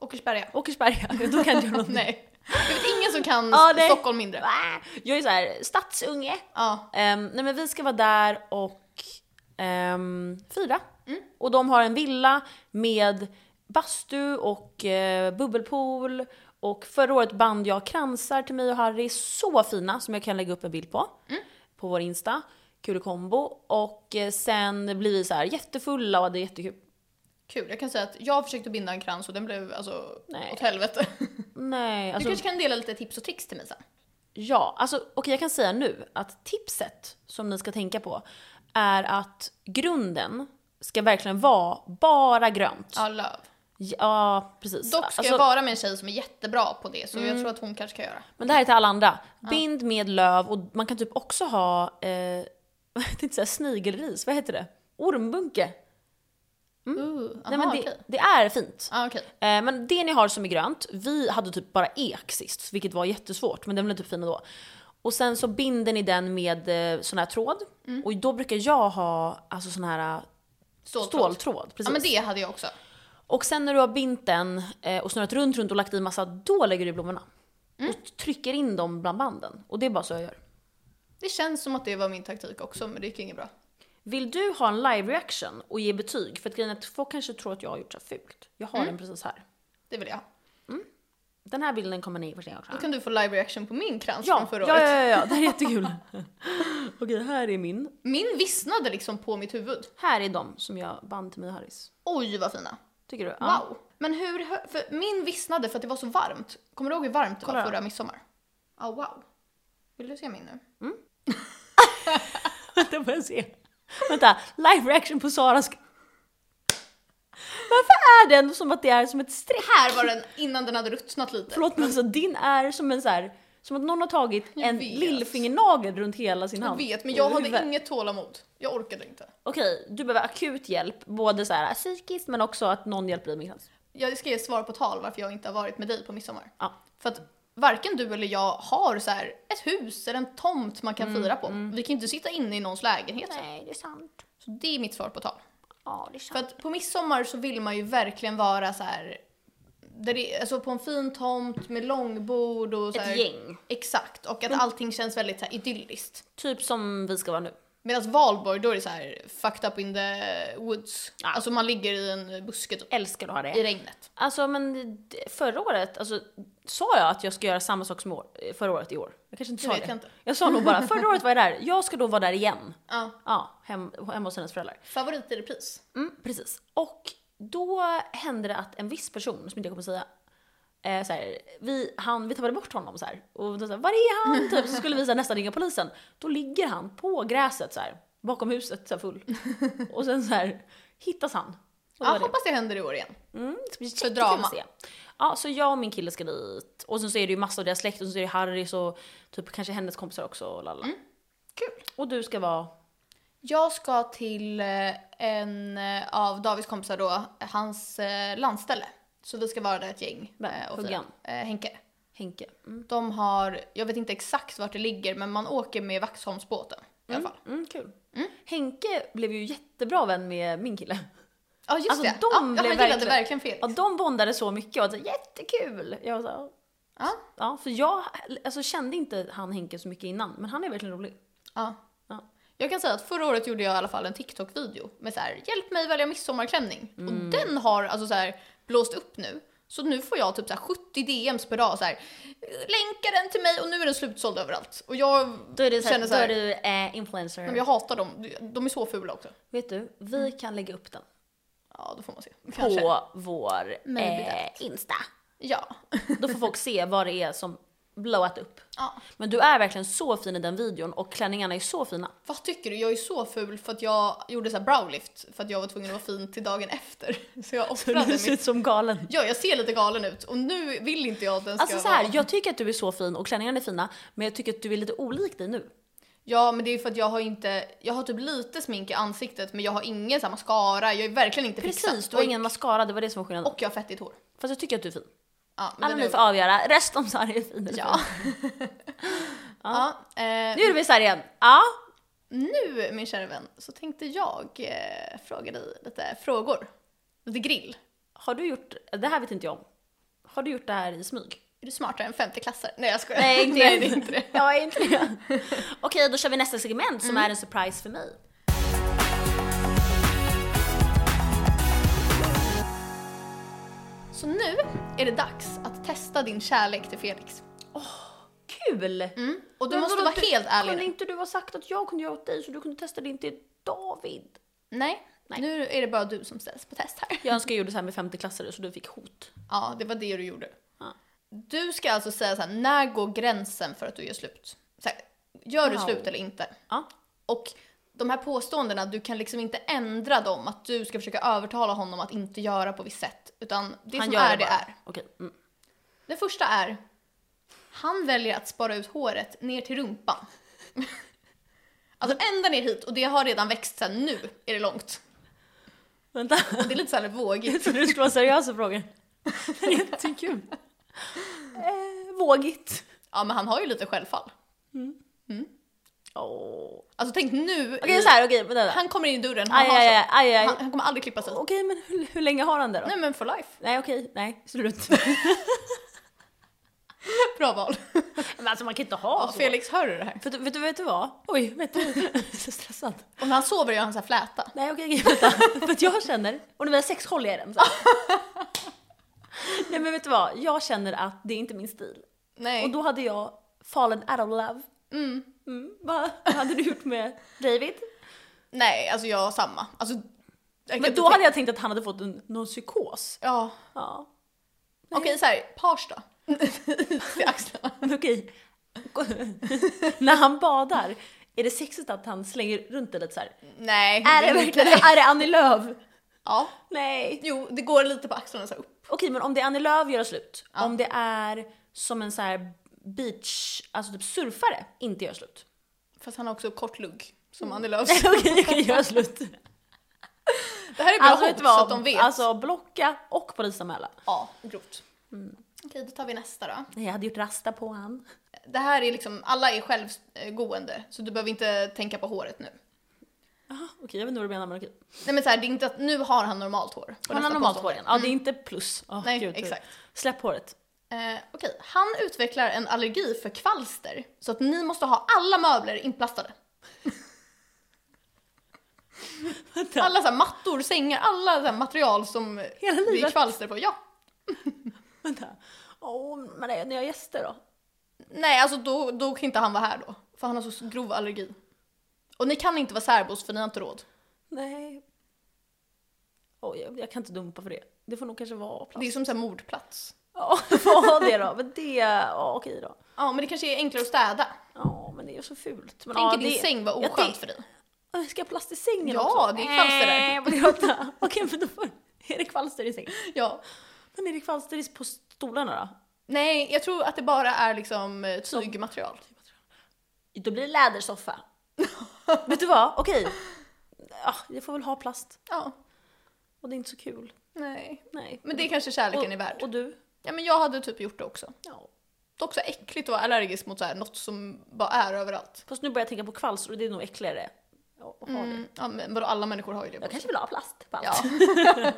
[SPEAKER 2] Åkersberga.
[SPEAKER 1] Åkersberga? Då kan inte jag någonting.
[SPEAKER 2] Nej. Jag vet ingen som kan
[SPEAKER 1] Ja, nej.
[SPEAKER 2] Stockholm mindre.
[SPEAKER 1] Ah, Jag är så här stadsunge.
[SPEAKER 2] Ja.
[SPEAKER 1] Ehm, nej men vi ska vara där och um, fira.
[SPEAKER 2] Mm.
[SPEAKER 1] Och de har en villa med bastu och eh, bubbelpool. Och förra året band jag kransar till mig och Harry, så fina som jag kan lägga upp en bild på.
[SPEAKER 2] Mm.
[SPEAKER 1] På vår Insta, kul kombo. Och eh, sen blir vi så här jättefulla och det är jättekul.
[SPEAKER 2] Kul, jag kan säga att jag försökte binda en krans och den blev alltså
[SPEAKER 1] Nej.
[SPEAKER 2] åt helvete.
[SPEAKER 1] Nej,
[SPEAKER 2] Du
[SPEAKER 1] alltså,
[SPEAKER 2] kanske kan dela lite tips och tricks till mig sen.
[SPEAKER 1] Ja, alltså okej jag kan säga nu att tipset som ni ska tänka på är att grunden ska verkligen vara bara grönt.
[SPEAKER 2] Ja, love.
[SPEAKER 1] Ja, precis.
[SPEAKER 2] Dock
[SPEAKER 1] Alltså,
[SPEAKER 2] ska
[SPEAKER 1] Mm.
[SPEAKER 2] jag vara med en tjej som är jättebra på det, så jag tror att hon kanske kan göra.
[SPEAKER 1] Men det här är till alla andra. Bind med löv och man kan typ också ha, eh, jag tänkte säga snigelris, vad heter det? Ormbunke.
[SPEAKER 2] Ooh, aha,
[SPEAKER 1] Mm. Nej men det,
[SPEAKER 2] okej.
[SPEAKER 1] det är fint.
[SPEAKER 2] Ja, okej.
[SPEAKER 1] Eh, men det ni har som är grönt, vi hade typ bara ek sist, vilket var jättesvårt, men den blev typ fin då. Och sen så binder ni den med eh, sån här tråd,
[SPEAKER 2] Mm.
[SPEAKER 1] och då brukar jag ha alltså sån här eh,
[SPEAKER 2] Ståltråd.
[SPEAKER 1] ståltråd. Precis.
[SPEAKER 2] Ja men det hade jag också.
[SPEAKER 1] Och sen när du har bint den eh, och snurrat runt, runt och lagt i massa, då lägger du i blommorna.
[SPEAKER 2] Mm.
[SPEAKER 1] Och trycker in dem bland banden. Och det är bara så jag gör.
[SPEAKER 2] Det känns som att det var min taktik också, men det gick inget bra.
[SPEAKER 1] Vill du ha en live reaction och ge betyg? För att grejen är att folk kanske tror att jag har gjort så här fult. Jag
[SPEAKER 2] Mm.
[SPEAKER 1] har den precis här.
[SPEAKER 2] Det vill jag ha.
[SPEAKER 1] Den här bilden kommer ni få se också.
[SPEAKER 2] Då kan du få live reaction på min krans
[SPEAKER 1] Ja,
[SPEAKER 2] från förra
[SPEAKER 1] ja,
[SPEAKER 2] året.
[SPEAKER 1] ja, ja, ja, det här är jättekul. Okej, här är min.
[SPEAKER 2] Min vissnade liksom på mitt huvud.
[SPEAKER 1] Här är de som jag band till mig och Harris.
[SPEAKER 2] Oj vad fina.
[SPEAKER 1] Tycker du? Ja.
[SPEAKER 2] Wow. Men hur, hö- för min vissnade för att det var så varmt. Kommer du ihåg hur varmt det
[SPEAKER 1] Kolla
[SPEAKER 2] var
[SPEAKER 1] då.
[SPEAKER 2] förra midsommar? Ja, wow. Vill du se min nu?
[SPEAKER 1] Vänta, får jag se? Vänta, live reaction på Saras... Varför är den som att det är som ett streck?
[SPEAKER 2] Här var den innan den hade ruttnat lite.
[SPEAKER 1] Förlåt men alltså din är som en så här Som att någon har tagit
[SPEAKER 2] Jag
[SPEAKER 1] en
[SPEAKER 2] vet.
[SPEAKER 1] lillfingernagel runt hela sin
[SPEAKER 2] Jag
[SPEAKER 1] hand.
[SPEAKER 2] vet, men
[SPEAKER 1] och
[SPEAKER 2] jag hade
[SPEAKER 1] huvud.
[SPEAKER 2] inget tålamod. Jag orkade inte.
[SPEAKER 1] Okej, du behöver akut hjälp. Både så här psykiskt men också att någon hjälper dig med cancer.
[SPEAKER 2] Jag ska ge svar på tal varför jag inte har varit med dig på midsommar.
[SPEAKER 1] Ja.
[SPEAKER 2] För att varken du eller jag har så här ett hus eller en tomt man kan fira på. Vi kan ju inte sitta inne i någons lägenhet. Så. här.
[SPEAKER 1] Mm, Nej, det är sant.
[SPEAKER 2] så det är mitt svar på tal.
[SPEAKER 1] Ja, det är sant.
[SPEAKER 2] För att på midsommar så vill man ju verkligen vara så här. Där det, alltså på en fin tomt med långbord och så
[SPEAKER 1] Ett
[SPEAKER 2] här,
[SPEAKER 1] gäng. Mm.
[SPEAKER 2] Exakt, och att allting känns väldigt så här idylliskt.
[SPEAKER 1] Typ som vi ska vara nu.
[SPEAKER 2] Medan valborg, då är det så här fucked up in the woods.
[SPEAKER 1] Ja.
[SPEAKER 2] Alltså man ligger i en buske typ,
[SPEAKER 1] Älskar att ha
[SPEAKER 2] i
[SPEAKER 1] det.
[SPEAKER 2] regnet.
[SPEAKER 1] Alltså men det- förra året, alltså sa jag att jag ska göra samma sak som i år, förra året i år? Jag kanske inte
[SPEAKER 2] Det
[SPEAKER 1] sa
[SPEAKER 2] vet
[SPEAKER 1] det.
[SPEAKER 2] jag inte.
[SPEAKER 1] Jag sa nog bara, förra året var jag där, jag ska då vara där igen.
[SPEAKER 2] Ja.
[SPEAKER 1] Ja, hem, hemma hos hennes föräldrar.
[SPEAKER 2] Favorit i repris.
[SPEAKER 1] Mm, precis. Och då hände det att en viss person, som inte jag kommer säga, eh, så här, vi, han, vi tappade bort honom så här. Och då så här, var är han? Typ, så skulle vi så här, nästan ringa polisen. Då ligger han på gräset så här, bakom huset så här, full. Och sen så här, hittas han. Och då
[SPEAKER 2] Ja,
[SPEAKER 1] var det-
[SPEAKER 2] hoppas det händer i år igen.
[SPEAKER 1] Mm, det ska bli
[SPEAKER 2] För
[SPEAKER 1] jättekul
[SPEAKER 2] drama.
[SPEAKER 1] att se. Ja, så jag och min kille ska dit. Och sen så är det ju massa av deras släkt och så är det Harrys och typ kanske hennes kompisar också och lalla.
[SPEAKER 2] Kul.
[SPEAKER 1] Och du ska vara...
[SPEAKER 2] Jag ska till eh, en eh, av Davids kompisar då, hans eh, landställe. Så vi ska vara där ett gäng.
[SPEAKER 1] Vem?
[SPEAKER 2] eh, och fira.
[SPEAKER 1] Huggan?
[SPEAKER 2] Eh, Henke.
[SPEAKER 1] Henke. Mm,
[SPEAKER 2] De har, jag vet inte exakt vart det ligger, men man åker med Vaxholmsbåten i alla fall.
[SPEAKER 1] mm, kul. Henke blev ju jättebra vän med min kille.
[SPEAKER 2] Ja just
[SPEAKER 1] Alltså,
[SPEAKER 2] det,
[SPEAKER 1] de
[SPEAKER 2] ja, ja, han
[SPEAKER 1] blev
[SPEAKER 2] gillade
[SPEAKER 1] verkligen-
[SPEAKER 2] verkligen, Felix.
[SPEAKER 1] Ja, de bondade så mycket och det var så här, jättekul! Jag var så, här,
[SPEAKER 2] Ja,
[SPEAKER 1] ja, för jag alltså, kände inte han Henke så mycket innan, men han är verkligen rolig.
[SPEAKER 2] ja.
[SPEAKER 1] Ja.
[SPEAKER 2] Jag kan säga att förra året gjorde jag i alla fall en TikTok-video med så här “Hjälp mig välja midsommarklänning”
[SPEAKER 1] Mm.
[SPEAKER 2] och den har alltså så här blåst upp nu. Så nu får jag typ så här 70 DMs per dag så här “Länka den till mig” och nu är den slutsåld överallt. Och jag
[SPEAKER 1] Då är du, så här,
[SPEAKER 2] känner så här,
[SPEAKER 1] då är du eh, influencer.
[SPEAKER 2] men jag hatar dem, de är så fula också.
[SPEAKER 1] Vet du, vi kan lägga upp den
[SPEAKER 2] Ja, då får man se. Kanske.
[SPEAKER 1] på vår
[SPEAKER 2] Maybe
[SPEAKER 1] eh, Insta.
[SPEAKER 2] Ja.
[SPEAKER 1] Då får folk se vad det är som blowat upp.
[SPEAKER 2] ja.
[SPEAKER 1] Men du är verkligen så fin i den videon och klänningarna är så fina.
[SPEAKER 2] Vad tycker du? Jag är så ful för att jag gjorde så här browlift för att jag var tvungen att vara fin till dagen efter. Så jag offrade mitt...
[SPEAKER 1] ut som galen.
[SPEAKER 2] Ja, jag ser lite galen ut och nu vill inte jag att den ska
[SPEAKER 1] Alltså så här,
[SPEAKER 2] vara...
[SPEAKER 1] jag tycker att du är så fin och klänningarna är fina, men jag tycker att du är lite olik dig nu.
[SPEAKER 2] Ja, men det är ju för att jag har inte... Jag har typ lite smink i ansiktet men jag har ingen så här mascara. Jag är verkligen inte
[SPEAKER 1] Precis,
[SPEAKER 2] fixad.
[SPEAKER 1] du har ingen mascara, det var det som var skillnaden.
[SPEAKER 2] Och jag har fettigt hår.
[SPEAKER 1] Fast jag tycker att du är fin.
[SPEAKER 2] Ja, men
[SPEAKER 1] Alla
[SPEAKER 2] den är
[SPEAKER 1] ni får
[SPEAKER 2] okej.
[SPEAKER 1] avgöra, resten om Sara är fin eller
[SPEAKER 2] Ja.
[SPEAKER 1] fin.
[SPEAKER 2] ja. eh,
[SPEAKER 1] Nu är vi så här igen. Ja.
[SPEAKER 2] nu, min kära vän, så tänkte jag eh, fråga dig lite frågor. Lite grill.
[SPEAKER 1] Har du gjort, det här vet inte jag om. Har du gjort det här i smyg?
[SPEAKER 2] Är du smartare än femteklassare? Nej, jag skojar.
[SPEAKER 1] Nej, inte
[SPEAKER 2] Nej, det är inte det.
[SPEAKER 1] Jag är inte det. Okej, då kör vi nästa segment
[SPEAKER 2] Mm.
[SPEAKER 1] som är en surprise för mig.
[SPEAKER 2] Så nu är det dags att testa din kärlek till Felix.
[SPEAKER 1] Kul!
[SPEAKER 2] Mm. Och du
[SPEAKER 1] Men
[SPEAKER 2] måste
[SPEAKER 1] vadå,
[SPEAKER 2] vara
[SPEAKER 1] du-
[SPEAKER 2] helt ärlig
[SPEAKER 1] Kunde
[SPEAKER 2] nu.
[SPEAKER 1] inte du ha sagt att jag kunde göra åt dig så du kunde testa din till David?
[SPEAKER 2] Nej,
[SPEAKER 1] Nej.
[SPEAKER 2] nu är det bara du som ställs på test här.
[SPEAKER 1] Jag önskar jag gjorde så här med 50-klassare så du fick hot.
[SPEAKER 2] Ja, det var det du gjorde.
[SPEAKER 1] Ja.
[SPEAKER 2] Du ska alltså säga så här, när går gränsen för att du gör slut? Så här, gör du
[SPEAKER 1] Wow.
[SPEAKER 2] slut eller inte?
[SPEAKER 1] Ja.
[SPEAKER 2] Och de här påståendena, du kan liksom inte ändra dem, att du ska försöka övertala honom att inte göra på visst sätt. Utan det som är, det
[SPEAKER 1] bara.
[SPEAKER 2] är.
[SPEAKER 1] Okej. Mm.
[SPEAKER 2] Den första är, han väljer att spara ut håret ner till rumpan. Alltså ända ner hit och det har redan växt sen nu är det långt.
[SPEAKER 1] Vänta,
[SPEAKER 2] Det är lite såhär
[SPEAKER 1] jag
[SPEAKER 2] vågigt.
[SPEAKER 1] trodde du skulle vara seriös i frågan. Det är jättekul. Eh, vågigt.
[SPEAKER 2] Ja men han har ju lite självfall.
[SPEAKER 1] Åh.
[SPEAKER 2] Alltså tänk nu, i-
[SPEAKER 1] Okej så här, okej, vänta.
[SPEAKER 2] han kommer in i dörren, han,
[SPEAKER 1] Aj, aj,
[SPEAKER 2] har
[SPEAKER 1] aj,
[SPEAKER 2] så,
[SPEAKER 1] aj, aj.
[SPEAKER 2] han, han kommer aldrig klippa sig.
[SPEAKER 1] Okej men hur, hur länge har han det då? Nej,
[SPEAKER 2] Nej men for life.
[SPEAKER 1] okej, nej slut.
[SPEAKER 2] Bra val.
[SPEAKER 1] men alltså man kan inte ha
[SPEAKER 2] Ja,
[SPEAKER 1] så.
[SPEAKER 2] Felix, hör du det här?
[SPEAKER 1] Vet, du- vet, du- vet du vad? Oj, vet du? Jag är så stressad.
[SPEAKER 2] Och när han sover gör han så här fläta.
[SPEAKER 1] Nej okej, okej vänta. För att jag känner, och när vi har sex håller jag i den så. Nej men vet du vad? Jag känner att det är inte min stil.
[SPEAKER 2] Nej.
[SPEAKER 1] Och då hade jag fallen out of love.
[SPEAKER 2] mm.
[SPEAKER 1] Mm, vad vad hade du gjort med David?
[SPEAKER 2] Nej, alltså jag har samma. Alltså, jag kan
[SPEAKER 1] Men
[SPEAKER 2] inte
[SPEAKER 1] då
[SPEAKER 2] tänka-
[SPEAKER 1] hade jag tänkt att han hade fått en, någon psykos.
[SPEAKER 2] Ja.
[SPEAKER 1] Ja.
[SPEAKER 2] Okej så här, page då. Till axlarna.
[SPEAKER 1] Men okej. När han badar, är det sexigt att han slänger runt det lite så här?
[SPEAKER 2] Nej.
[SPEAKER 1] Är det
[SPEAKER 2] inte.
[SPEAKER 1] verkligen är det Annie Lööf?
[SPEAKER 2] Ja.
[SPEAKER 1] Nej.
[SPEAKER 2] Jo, det går lite på axlarna så här upp.
[SPEAKER 1] Okej men om det är Annie Lööf gör slut,
[SPEAKER 2] Ja.
[SPEAKER 1] om det är som en så här beach, alltså typ surfare, inte gör slut.
[SPEAKER 2] Fast han har också kort lugg, som Annie Lööf.
[SPEAKER 1] Okej, jag kan göra slut.
[SPEAKER 2] Det här är bra
[SPEAKER 1] Alltså, vet
[SPEAKER 2] hot,
[SPEAKER 1] du
[SPEAKER 2] så
[SPEAKER 1] vad?
[SPEAKER 2] att de vet.
[SPEAKER 1] alltså blocka och polisanmäla.
[SPEAKER 2] Ja, grovt. Okej, då tar vi nästa då.
[SPEAKER 1] Nej, Jag hade gjort rasta på han.
[SPEAKER 2] Det här är liksom, alla är självgående, så du behöver inte tänka på håret nu.
[SPEAKER 1] Jaha, okej jag vet inte vad du menar men okej.
[SPEAKER 2] Nej men så här, det är inte att nu har han normalt hår. på
[SPEAKER 1] Han har
[SPEAKER 2] nästa
[SPEAKER 1] normalt hår Mm.
[SPEAKER 2] påstående.
[SPEAKER 1] igen. Ja, det är inte plus. Åh,
[SPEAKER 2] Nej,
[SPEAKER 1] gud, typ. tur.
[SPEAKER 2] exakt.
[SPEAKER 1] Släpp håret.
[SPEAKER 2] Eh, Okej, han utvecklar en allergi för kvalster så att ni måste ha alla möbler inplastade. alla så här, mattor, sängar, alla så här, material som
[SPEAKER 1] Hela
[SPEAKER 2] det är
[SPEAKER 1] livet.
[SPEAKER 2] kvalster på. Ja.
[SPEAKER 1] Vänta. Åh, men när jag har gäster då?
[SPEAKER 2] Nej, alltså då, då kan inte han vara här då. För han har så grov allergi. Och ni kan inte vara särbos för ni har inte råd.
[SPEAKER 1] Nej. Oj, jag, jag kan inte dumpa för det. Det får nog kanske vara plats.
[SPEAKER 2] Det är som en mordplats.
[SPEAKER 1] Ja, det får ha det då. Men det, ja okej då.
[SPEAKER 2] Ja, men det kanske är enklare att städa.
[SPEAKER 1] Ja, men det är ju så fult. Men,
[SPEAKER 2] Tänk
[SPEAKER 1] ja,
[SPEAKER 2] er din
[SPEAKER 1] det-
[SPEAKER 2] säng var
[SPEAKER 1] ja,
[SPEAKER 2] oskönt
[SPEAKER 1] det-
[SPEAKER 2] för dig.
[SPEAKER 1] Ja, Ska jag ha plast i sängen
[SPEAKER 2] Ja,
[SPEAKER 1] också?
[SPEAKER 2] det är kvalster där.
[SPEAKER 1] Nej, men vänta. Okej, men då får, är det kvalster i sängen?
[SPEAKER 2] Ja.
[SPEAKER 1] Men är det kvalster i- på stolarna då?
[SPEAKER 2] Nej, jag tror att det bara är liksom eh, tygmaterial.
[SPEAKER 1] Då blir det lädersoffa. Vet du vad? Okej. Ja, jag får väl ha plast.
[SPEAKER 2] Ja,
[SPEAKER 1] Och det är inte så kul.
[SPEAKER 2] nej.
[SPEAKER 1] Nej.
[SPEAKER 2] Men det är kanske kärleken är värd.
[SPEAKER 1] Mm. och, och du?
[SPEAKER 2] Ja, men jag hade typ gjort det också.
[SPEAKER 1] Ja.
[SPEAKER 2] Det är också äckligt att vara allergisk mot så här, något som bara är överallt.
[SPEAKER 1] Fast nu börjar jag tänka på kvalster och det är nog äckligare. att ha det.
[SPEAKER 2] Mm. Ja, men vadå, alla människor har ju det.
[SPEAKER 1] Jag kanske vill ha plast på allt.
[SPEAKER 2] Ja. nu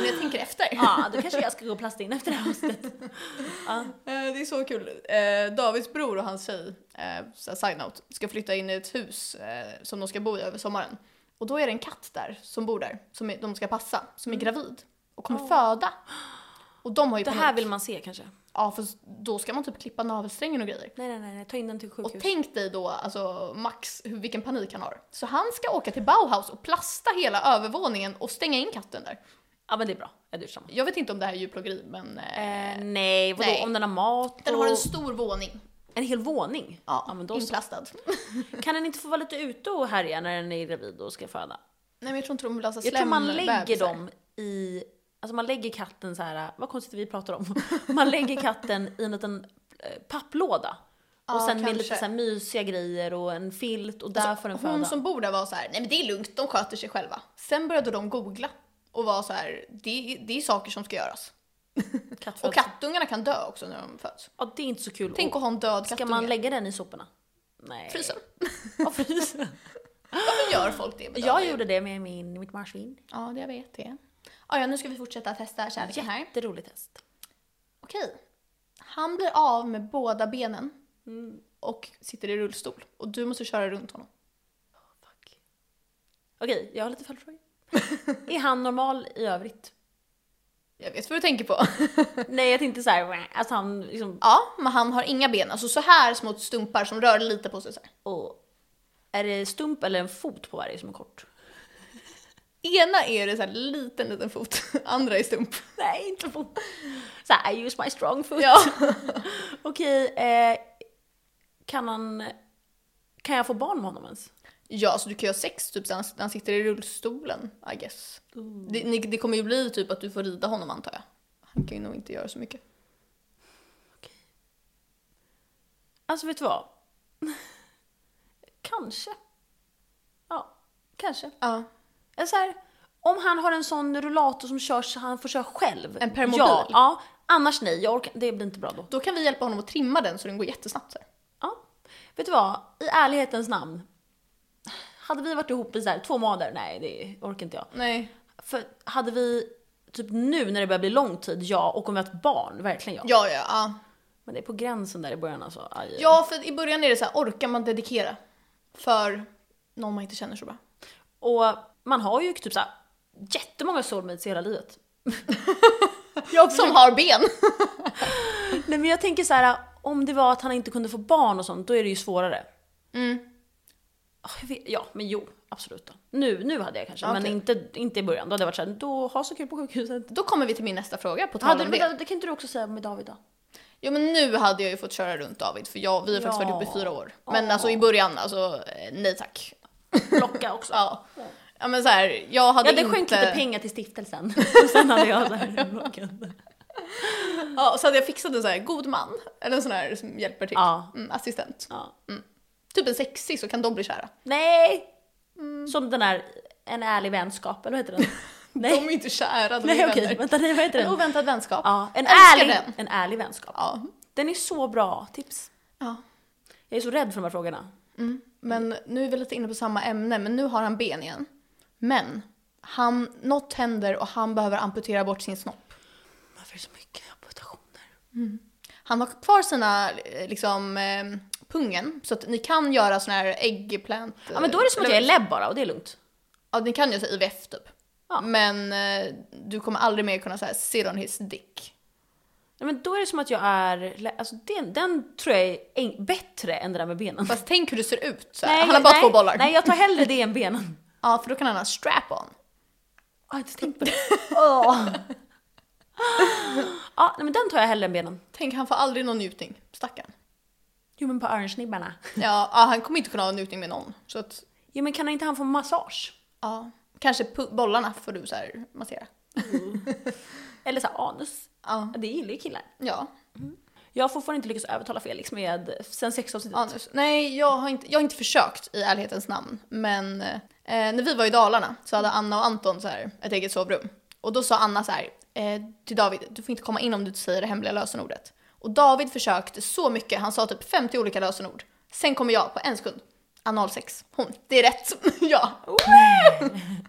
[SPEAKER 2] när jag tänker efter.
[SPEAKER 1] Ja, då kanske jag ska gå och plasta in efter det här avsnittet. Ja.
[SPEAKER 2] Eh, Det är så kul. Eh, Davids bror och hans tjej, eh, så här side-note, ska flytta in i ett hus eh, som de ska bo i över sommaren. Och då är det en katt där som bor där, som är- de ska passa, som är gravid och kommer föda. Och de har ju
[SPEAKER 1] Mm. Det
[SPEAKER 2] panik.
[SPEAKER 1] här vill man se kanske.
[SPEAKER 2] Ja, för då ska man typ klippa navelsträngen och grejer.
[SPEAKER 1] Nej, nej, nej, nej. ta in den till
[SPEAKER 2] Och
[SPEAKER 1] sjukhus.
[SPEAKER 2] tänk dig då, alltså Max, hur, vilken panik han har. Så han ska åka till Bauhaus och plasta hela övervåningen och stänga in katten där.
[SPEAKER 1] Ja, men det är bra. Jag duschar samma.
[SPEAKER 2] Jag vet inte om det här är djurplågeri, men eh,
[SPEAKER 1] Eh, nej, vadå?
[SPEAKER 2] nej.
[SPEAKER 1] Om den har mat
[SPEAKER 2] den
[SPEAKER 1] och...
[SPEAKER 2] har en stor våning.
[SPEAKER 1] en hel våning?
[SPEAKER 2] Ja,
[SPEAKER 1] men då så.
[SPEAKER 2] inplastad.
[SPEAKER 1] Kan den inte få vara lite ute och härja när den är gravid och ska föda?
[SPEAKER 2] Nej men jag tror inte de vill alltså
[SPEAKER 1] Jag tror man lägger
[SPEAKER 2] slembebisar.
[SPEAKER 1] dem i... Alltså man lägger katten så här, vad konstigt vi pratar om. Man lägger katten i en liten eh, papplåda.
[SPEAKER 2] Ja,
[SPEAKER 1] och sen med
[SPEAKER 2] kanske.
[SPEAKER 1] lite så här mysiga grejer och en filt och där får den föda.
[SPEAKER 2] Alltså, Hon som bor där var så här, nej men det är lugnt, de sköter sig själva. Sen började de googla och var så här, det, det är saker som ska göras.
[SPEAKER 1] Kattfödsel.
[SPEAKER 2] Och kattungarna kan dö också när de föds.
[SPEAKER 1] Ja, det är inte så kul.
[SPEAKER 2] Tänk att ha en död
[SPEAKER 1] Ska
[SPEAKER 2] kattunge.
[SPEAKER 1] man lägga den i soporna? Nej.
[SPEAKER 2] Frysen.
[SPEAKER 1] Ja, frysen.
[SPEAKER 2] Varför gör folk det med döda
[SPEAKER 1] Jag
[SPEAKER 2] djur?
[SPEAKER 1] gjorde det med min, mitt marsvin.
[SPEAKER 2] Ja, det jag vet det. Ah, ja, nu ska vi fortsätta testa kärleken här.
[SPEAKER 1] Jätteroligt test.
[SPEAKER 2] Okej. Han blir av med båda benen och sitter i rullstol. Och du måste köra runt honom.
[SPEAKER 1] Fuck. Okej, jag har lite följdfrågor. är han normal i övrigt?
[SPEAKER 2] Jag vet vad du tänker på.
[SPEAKER 1] Nej, jag tänkte så här, att han liksom...
[SPEAKER 2] ja, men han har inga ben. Alltså så här små stumpar som rör lite på sig så här.
[SPEAKER 1] Och, är det stump eller en fot på varje som är kort?
[SPEAKER 2] Ena är det så här liten, liten fot. Andra är stump.
[SPEAKER 1] Nej, inte fot. Så här, I use my strong foot.
[SPEAKER 2] Ja.
[SPEAKER 1] Okej, eh, kan han... Kan jag få barn med honom ens?
[SPEAKER 2] Ja, så du kan ju ha sex typ så han- när han sitter i rullstolen, I guess. Det, ni- det kommer ju bli typ att du får rida honom antar jag. Han kan ju nog inte göra så mycket.
[SPEAKER 1] Alltså vet du vad? kanske. Ja, kanske.
[SPEAKER 2] Ja.
[SPEAKER 1] Eller så här, om han har en sån rullator som körs så han får köra själv.
[SPEAKER 2] En permobil.
[SPEAKER 1] Ja, ja annars nej. Jag orkar, det blir inte bra då.
[SPEAKER 2] Då kan vi hjälpa honom att trimma den så den går jättesnabbt. Så här.
[SPEAKER 1] Ja. Vet du vad? I ärlighetens namn. Hade vi varit ihop i så här, två månader, nej det orkar inte jag.
[SPEAKER 2] Nej.
[SPEAKER 1] För hade vi, typ nu när det börjar bli lång tid, ja. Och om vi har ett barn, verkligen ja.
[SPEAKER 2] Ja, ja, ja.
[SPEAKER 1] Men det är på gränsen där i början alltså. Aj.
[SPEAKER 2] Ja, för i början är det så här, orkar man dedikera? För någon man inte känner så bra.
[SPEAKER 1] Och man har ju typ så här, jättemånga soulmates i hela livet. jag
[SPEAKER 2] Som har ben!
[SPEAKER 1] Nej men jag tänker så här, om det var att han inte kunde få barn och sånt, då är det ju svårare.
[SPEAKER 2] Mm.
[SPEAKER 1] Ah, jag vet- Ja, men jo, absolut. Då. Nu, nu hade jag kanske, men
[SPEAKER 2] Okej.
[SPEAKER 1] inte, inte i början. Då hade jag varit såhär, då ha så kul på sjukhuset.
[SPEAKER 2] Då kommer vi till min nästa fråga, på tal
[SPEAKER 1] Hade,
[SPEAKER 2] om
[SPEAKER 1] det.
[SPEAKER 2] det.
[SPEAKER 1] Det kan inte du också säga med David då?
[SPEAKER 2] Jo men nu hade jag ju fått köra runt David, för jag, vi har faktiskt
[SPEAKER 1] Ja.
[SPEAKER 2] varit ihop i fyra år. Men
[SPEAKER 1] Ja.
[SPEAKER 2] alltså i början, alltså eh, nej tack.
[SPEAKER 1] Plocka också. ja,
[SPEAKER 2] Ja. Ja men så här, jag hade
[SPEAKER 1] det
[SPEAKER 2] inte...
[SPEAKER 1] skänkt lite pengar till stiftelsen. Och sen hade jag såhär
[SPEAKER 2] Ja, och så hade jag fixat en sån här god man, eller en sån här som hjälper till.
[SPEAKER 1] Ja.
[SPEAKER 2] Mm, assistent.
[SPEAKER 1] Ja.
[SPEAKER 2] Typ en sexig så kan de bli kära.
[SPEAKER 1] Nej!
[SPEAKER 2] Mm.
[SPEAKER 1] Som den här, en ärlig vänskap, eller vad heter den? Nej,
[SPEAKER 2] De är inte kära, de
[SPEAKER 1] Nej
[SPEAKER 2] är
[SPEAKER 1] okej,
[SPEAKER 2] vänner.
[SPEAKER 1] vänta, nej, vad heter
[SPEAKER 2] En
[SPEAKER 1] den?
[SPEAKER 2] oväntad vänskap.
[SPEAKER 1] Ja, en,
[SPEAKER 2] Älskar
[SPEAKER 1] ärlig,
[SPEAKER 2] den.
[SPEAKER 1] en ärlig vänskap.
[SPEAKER 2] Ja.
[SPEAKER 1] Den är så bra, tips.
[SPEAKER 2] ja. Mm.
[SPEAKER 1] Jag är så rädd för de här frågorna.
[SPEAKER 2] Men nu är vi lite inne på samma ämne, men nu har han ben igen. Men, han, något händer och han behöver amputera bort sin snopp.
[SPEAKER 1] Varför är det så mycket amputationer?
[SPEAKER 2] Han har kvar sina, eh, liksom, eh, pungen. Så att ni kan göra sån här äggplant... eh,
[SPEAKER 1] Ja men då är det som att jag är lebb bara och det är lugnt.
[SPEAKER 2] Ja, ni kan göra så här IVF typ.
[SPEAKER 1] Ja.
[SPEAKER 2] Men eh, du kommer aldrig mer kunna säga sit on his dick.
[SPEAKER 1] Nej, men då är det som att jag är, lä- alltså den, den tror jag är eng- bättre än det där med benen.
[SPEAKER 2] Fast tänk hur det ser ut. Så här. han har bara
[SPEAKER 1] nej,
[SPEAKER 2] två bollar.
[SPEAKER 1] Nej jag tar hellre det än benen.
[SPEAKER 2] Ja, för då kan han ha strap on.
[SPEAKER 1] Jag har inte tänkt på det. Åh. ja nej, men den tar jag hellre än benen.
[SPEAKER 2] Tänk, han får aldrig någon njutning. Stackarn.
[SPEAKER 1] Jo men på örnsnibbarna.
[SPEAKER 2] Ja, ja, han kommer inte kunna ha njutning med någon. Så att,
[SPEAKER 1] Jo men kan inte han få massage?
[SPEAKER 2] ja. Kanske pu- bollarna får du så här massera.
[SPEAKER 1] Eller så här, anus.
[SPEAKER 2] Ja.
[SPEAKER 1] Det gillar ju killar.
[SPEAKER 2] Ja,
[SPEAKER 1] Jag har fortfarande inte lyckats övertala Felix med, sen sexavsnittet.
[SPEAKER 2] anus. Nej, jag har, inte, jag har inte försökt i ärlighetens namn. Men eh, när vi var i Dalarna så hade Anna och Anton så här, ett eget sovrum. Och då sa Anna så här eh, till David, du får inte komma in om du inte säger det hemliga lösenordet. Och David försökte så mycket, han sa typ 50 olika lösenord. Sen kommer jag på en sekund. Analsex. Hon, det är rätt. ja.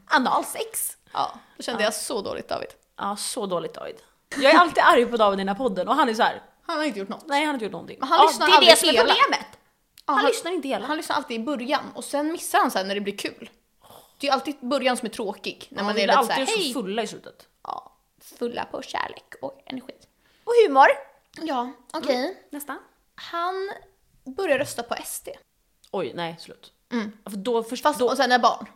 [SPEAKER 1] Analsex!
[SPEAKER 2] ja. Då kände jag så dåligt David.
[SPEAKER 1] Ja, så dåligt David. Jag är alltid arg på David i den här podden och han är så här.
[SPEAKER 2] Han har inte gjort något.
[SPEAKER 1] nej han har inte gjort någonting.
[SPEAKER 2] Men han lyssnar
[SPEAKER 1] det är
[SPEAKER 2] aldrig
[SPEAKER 1] det som är
[SPEAKER 2] hela.
[SPEAKER 1] problemet!
[SPEAKER 2] Ja,
[SPEAKER 1] han, lyssnar inte hela.
[SPEAKER 2] Han lyssnar alltid i början och sen missar han sen när det blir kul. Det är ju alltid början som är tråkig. När
[SPEAKER 1] Ja,
[SPEAKER 2] man
[SPEAKER 1] vi
[SPEAKER 2] är
[SPEAKER 1] blir
[SPEAKER 2] lite såhär,
[SPEAKER 1] alltid
[SPEAKER 2] hej!
[SPEAKER 1] så fulla i slutet.
[SPEAKER 2] Ja, fulla på kärlek och energi.
[SPEAKER 1] Och humor. Mm.
[SPEAKER 2] Ja, okej.
[SPEAKER 1] Nästa.
[SPEAKER 2] Han börjar rösta på SD.
[SPEAKER 1] Oj, nej, slut. Ja, För då först,
[SPEAKER 2] Fast,
[SPEAKER 1] Mm. då,
[SPEAKER 2] och sen är barn.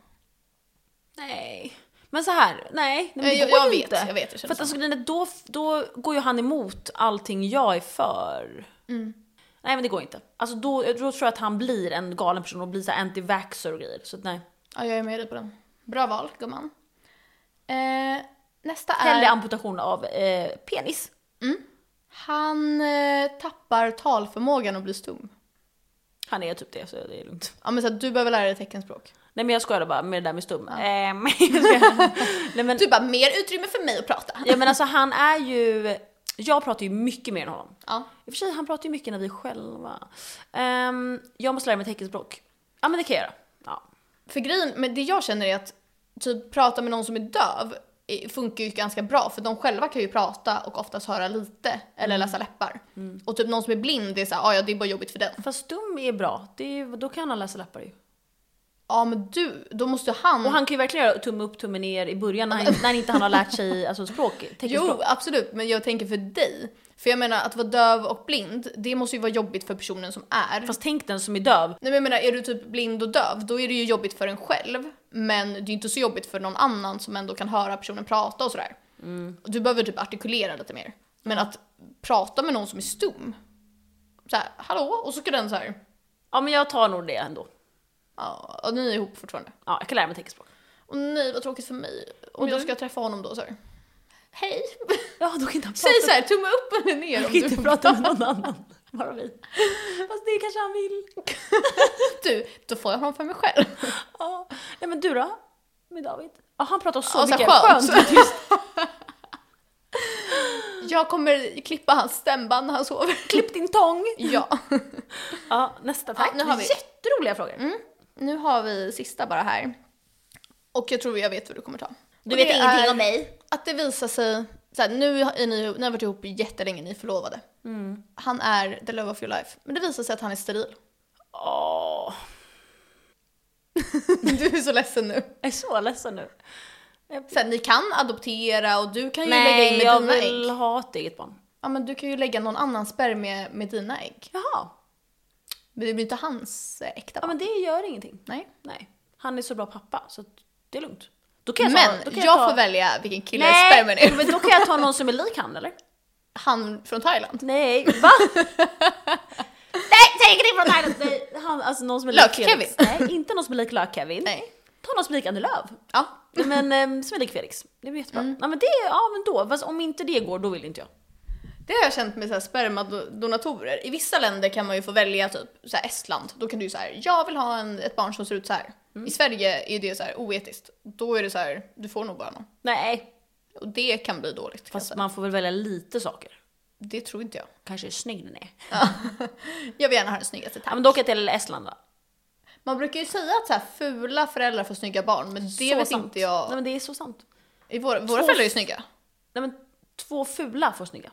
[SPEAKER 1] Nej. Men så här, nej. nej men det
[SPEAKER 2] Jag-
[SPEAKER 1] går
[SPEAKER 2] jag
[SPEAKER 1] ju
[SPEAKER 2] vet,
[SPEAKER 1] inte.
[SPEAKER 2] jag vet, jag känner
[SPEAKER 1] för att alltså, grejen är, då, då går ju han emot allting jag är för.
[SPEAKER 2] Mm.
[SPEAKER 1] Nej men det går inte. Alltså då, då tror jag att han blir en galen person och blir så här anti-vaxxer och grejer. Så att, nej.
[SPEAKER 2] Ja, jag är med dig på den. Bra val, gumman. Eh, nästa
[SPEAKER 1] Hellre
[SPEAKER 2] är...
[SPEAKER 1] amputation av eh, penis.
[SPEAKER 2] Han eh, tappar talförmågan och blir stum.
[SPEAKER 1] Han är typ det, så det är lugnt.
[SPEAKER 2] Ja, men så att du behöver lära dig teckenspråk.
[SPEAKER 1] Nej men jag skojade bara med det där med stum. Ehm, jag skojar. Nej, men,
[SPEAKER 2] Du Typ bara, mer utrymme för mig att prata.
[SPEAKER 1] ja, men alltså han är ju... Jag pratar ju mycket mer än honom.
[SPEAKER 2] Ja.
[SPEAKER 1] I och för sig, han pratar ju mycket när vi är själva. Ehm, jag måste lära mig teckenspråk. Ja men det kan jag göra. Ja.
[SPEAKER 2] För grejen, men det jag känner är att typ prata med någon som är döv eh, funkar ju ganska bra för de själva kan ju prata och oftast höra lite eller läsa läppar. Och typ någon som är blind det är såhär, "Ah, ja det är bara jobbigt för den.
[SPEAKER 1] Fast stum är bra, det är, då kan han läsa läppar ju.
[SPEAKER 2] Ja men du, då måste han...
[SPEAKER 1] Och han kan ju verkligen göra tumme upp, tumme ner i början när, han, när inte han har lärt sig alltså, språk, teckenspråk.
[SPEAKER 2] Jo absolut, men jag tänker för dig. För jag menar att vara döv och blind, det måste ju vara jobbigt för personen som är.
[SPEAKER 1] Fast tänk den som är döv.
[SPEAKER 2] Nej men jag menar, är du typ blind och döv, då är det ju jobbigt för en själv. Men det är ju inte så jobbigt för någon annan som ändå kan höra personen prata och sådär.
[SPEAKER 1] Mm.
[SPEAKER 2] Du behöver typ artikulera lite mer. Men att prata med någon som är stum. Såhär, hallå? Och så ska den såhär,
[SPEAKER 1] Ja men jag tar nog det ändå.
[SPEAKER 2] ja, och ni är ihop fortfarande.
[SPEAKER 1] Ja, jag kan lära mig teckenspråk.
[SPEAKER 2] Och nej vad tråkigt för mig. Om
[SPEAKER 1] Mm.
[SPEAKER 2] jag ska träffa honom då såhär. Hej!
[SPEAKER 1] Ja, då kan inte han prata.
[SPEAKER 2] Säg såhär, tumme upp eller ner
[SPEAKER 1] Jag
[SPEAKER 2] om
[SPEAKER 1] kan
[SPEAKER 2] du
[SPEAKER 1] inte prata med någon annan. Bara vi. Fast det kanske han vill.
[SPEAKER 2] Du, då får jag honom för mig själv.
[SPEAKER 1] Ja. Nej men du då? Med David? Ja han pratar så
[SPEAKER 2] Ja, så
[SPEAKER 1] mycket.
[SPEAKER 2] Alltså, skönt.
[SPEAKER 1] Skönt. och tyst.
[SPEAKER 2] Jag kommer klippa hans stämband när han sover.
[SPEAKER 1] Klipp din tång.
[SPEAKER 2] Ja.
[SPEAKER 1] Ja, nästa tack.
[SPEAKER 2] Ja, nu har vi- Mm.
[SPEAKER 1] Jätteroliga frågor.
[SPEAKER 2] Nu har vi sista bara här. Och jag tror jag vet vad du kommer ta.
[SPEAKER 1] Du
[SPEAKER 2] Och
[SPEAKER 1] vet
[SPEAKER 2] det
[SPEAKER 1] ingenting
[SPEAKER 2] är
[SPEAKER 1] om mig.
[SPEAKER 2] Att det visar sig, så här, nu är ni, ni har varit ihop jättelänge, ni är förlovade.
[SPEAKER 1] Mm.
[SPEAKER 2] Han är the love of your life. Men det visar sig att han är steril.
[SPEAKER 1] Åh,
[SPEAKER 2] du är så ledsen nu.
[SPEAKER 1] jag är så ledsen nu.
[SPEAKER 2] Så här, ni kan adoptera och du kan ju lägga in
[SPEAKER 1] Nej,
[SPEAKER 2] med
[SPEAKER 1] jag
[SPEAKER 2] dina
[SPEAKER 1] vill
[SPEAKER 2] ägg.
[SPEAKER 1] ha ett eget barn.
[SPEAKER 2] Ja men du kan ju lägga någon annans spermie med dina ägg.
[SPEAKER 1] Jaha.
[SPEAKER 2] Men det blir inte hans eh, äkta
[SPEAKER 1] Ja men
[SPEAKER 2] barn.
[SPEAKER 1] det gör ingenting.
[SPEAKER 2] Nej.
[SPEAKER 1] Nej. Han är så bra pappa så att det är lugnt. Då kan jag ta,
[SPEAKER 2] Men
[SPEAKER 1] då kan
[SPEAKER 2] jag,
[SPEAKER 1] ta...
[SPEAKER 2] får välja vilken kille
[SPEAKER 1] Nej,
[SPEAKER 2] spermien är.
[SPEAKER 1] men då kan jag ta någon som är lik han eller?
[SPEAKER 2] Han från Thailand.
[SPEAKER 1] Nej, va? nej, säg inte det från Thailand! Nej, han, alltså någon som är lik
[SPEAKER 2] Lök-Kevin.
[SPEAKER 1] Felix. Nej, inte någon som är lik Lök-Kevin.
[SPEAKER 2] Nej.
[SPEAKER 1] Ta någon som är lik Annie Lööf.
[SPEAKER 2] Ja. Mm.
[SPEAKER 1] Nej, Men ehm, som är lik Felix. Det blir jättebra. Ja men det, ja men då. Fast om inte det går, då vill inte jag.
[SPEAKER 2] Det har jag känt med så här spermadonatorer. I vissa länder kan man ju få välja, typ så här Estland, då kan du ju så här, jag vill ha en, ett barn som ser ut så här.
[SPEAKER 1] Mm.
[SPEAKER 2] I Sverige är det så här oetiskt. Då är det så här, du får nog bara någon.
[SPEAKER 1] Nej,
[SPEAKER 2] Och det kan bli dåligt. kan jag
[SPEAKER 1] fast
[SPEAKER 2] säga.
[SPEAKER 1] man får väl välja lite saker.
[SPEAKER 2] Det tror inte jag.
[SPEAKER 1] Kanske hur snygg den är.
[SPEAKER 2] Jag vill gärna ha den snyggaste
[SPEAKER 1] Ja,
[SPEAKER 2] tack.
[SPEAKER 1] men då åker jag till Estland då.
[SPEAKER 2] Man brukar ju säga att så här, fula föräldrar får snygga barn, men det
[SPEAKER 1] så
[SPEAKER 2] vet
[SPEAKER 1] sant.
[SPEAKER 2] inte jag.
[SPEAKER 1] Nej men det är så sant.
[SPEAKER 2] I våra
[SPEAKER 1] Så-
[SPEAKER 2] våra föräldrar är ju snygga.
[SPEAKER 1] Nej men två fula får snygga.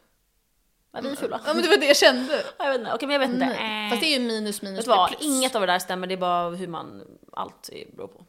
[SPEAKER 1] Eller fula.
[SPEAKER 2] Ja men det var det jag kände.
[SPEAKER 1] Jag vet inte, okej men jag vet inte.
[SPEAKER 2] Nej.
[SPEAKER 1] Äh.
[SPEAKER 2] Mm. Fast det är ju minus
[SPEAKER 1] Vet
[SPEAKER 2] minus
[SPEAKER 1] du vad,
[SPEAKER 2] blir plus.
[SPEAKER 1] inget av det där stämmer, det är bara hur man, allt är- beror på.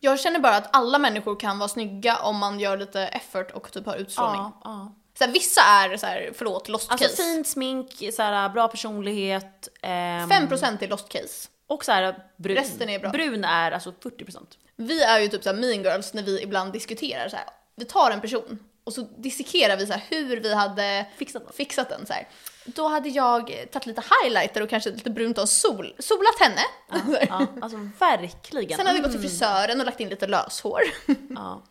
[SPEAKER 2] Jag känner bara att alla människor kan vara snygga om man gör lite effort och typ har utstrålning.
[SPEAKER 1] Ja, ja.
[SPEAKER 2] Så här, vissa är så här, förlåt, lost
[SPEAKER 1] Alltså
[SPEAKER 2] case.
[SPEAKER 1] fint smink, så här, bra personlighet. ehm,
[SPEAKER 2] 5% är lost case.
[SPEAKER 1] och så här, brun.
[SPEAKER 2] Resten är bra.
[SPEAKER 1] Brun är alltså 40%.
[SPEAKER 2] Vi är ju typ så här mean girls när vi ibland diskuterar så här. Vi tar en person och så dissekerar vi så här hur vi hade
[SPEAKER 1] Fixat dem.
[SPEAKER 2] fixat den så här. Då hade jag eh, tagit lite highlighter och kanske lite brunt av sol, solat henne.
[SPEAKER 1] Ja, alltså verkligen.
[SPEAKER 2] Sen hade vi gått till frisören och lagt in lite löshår.
[SPEAKER 1] Ja.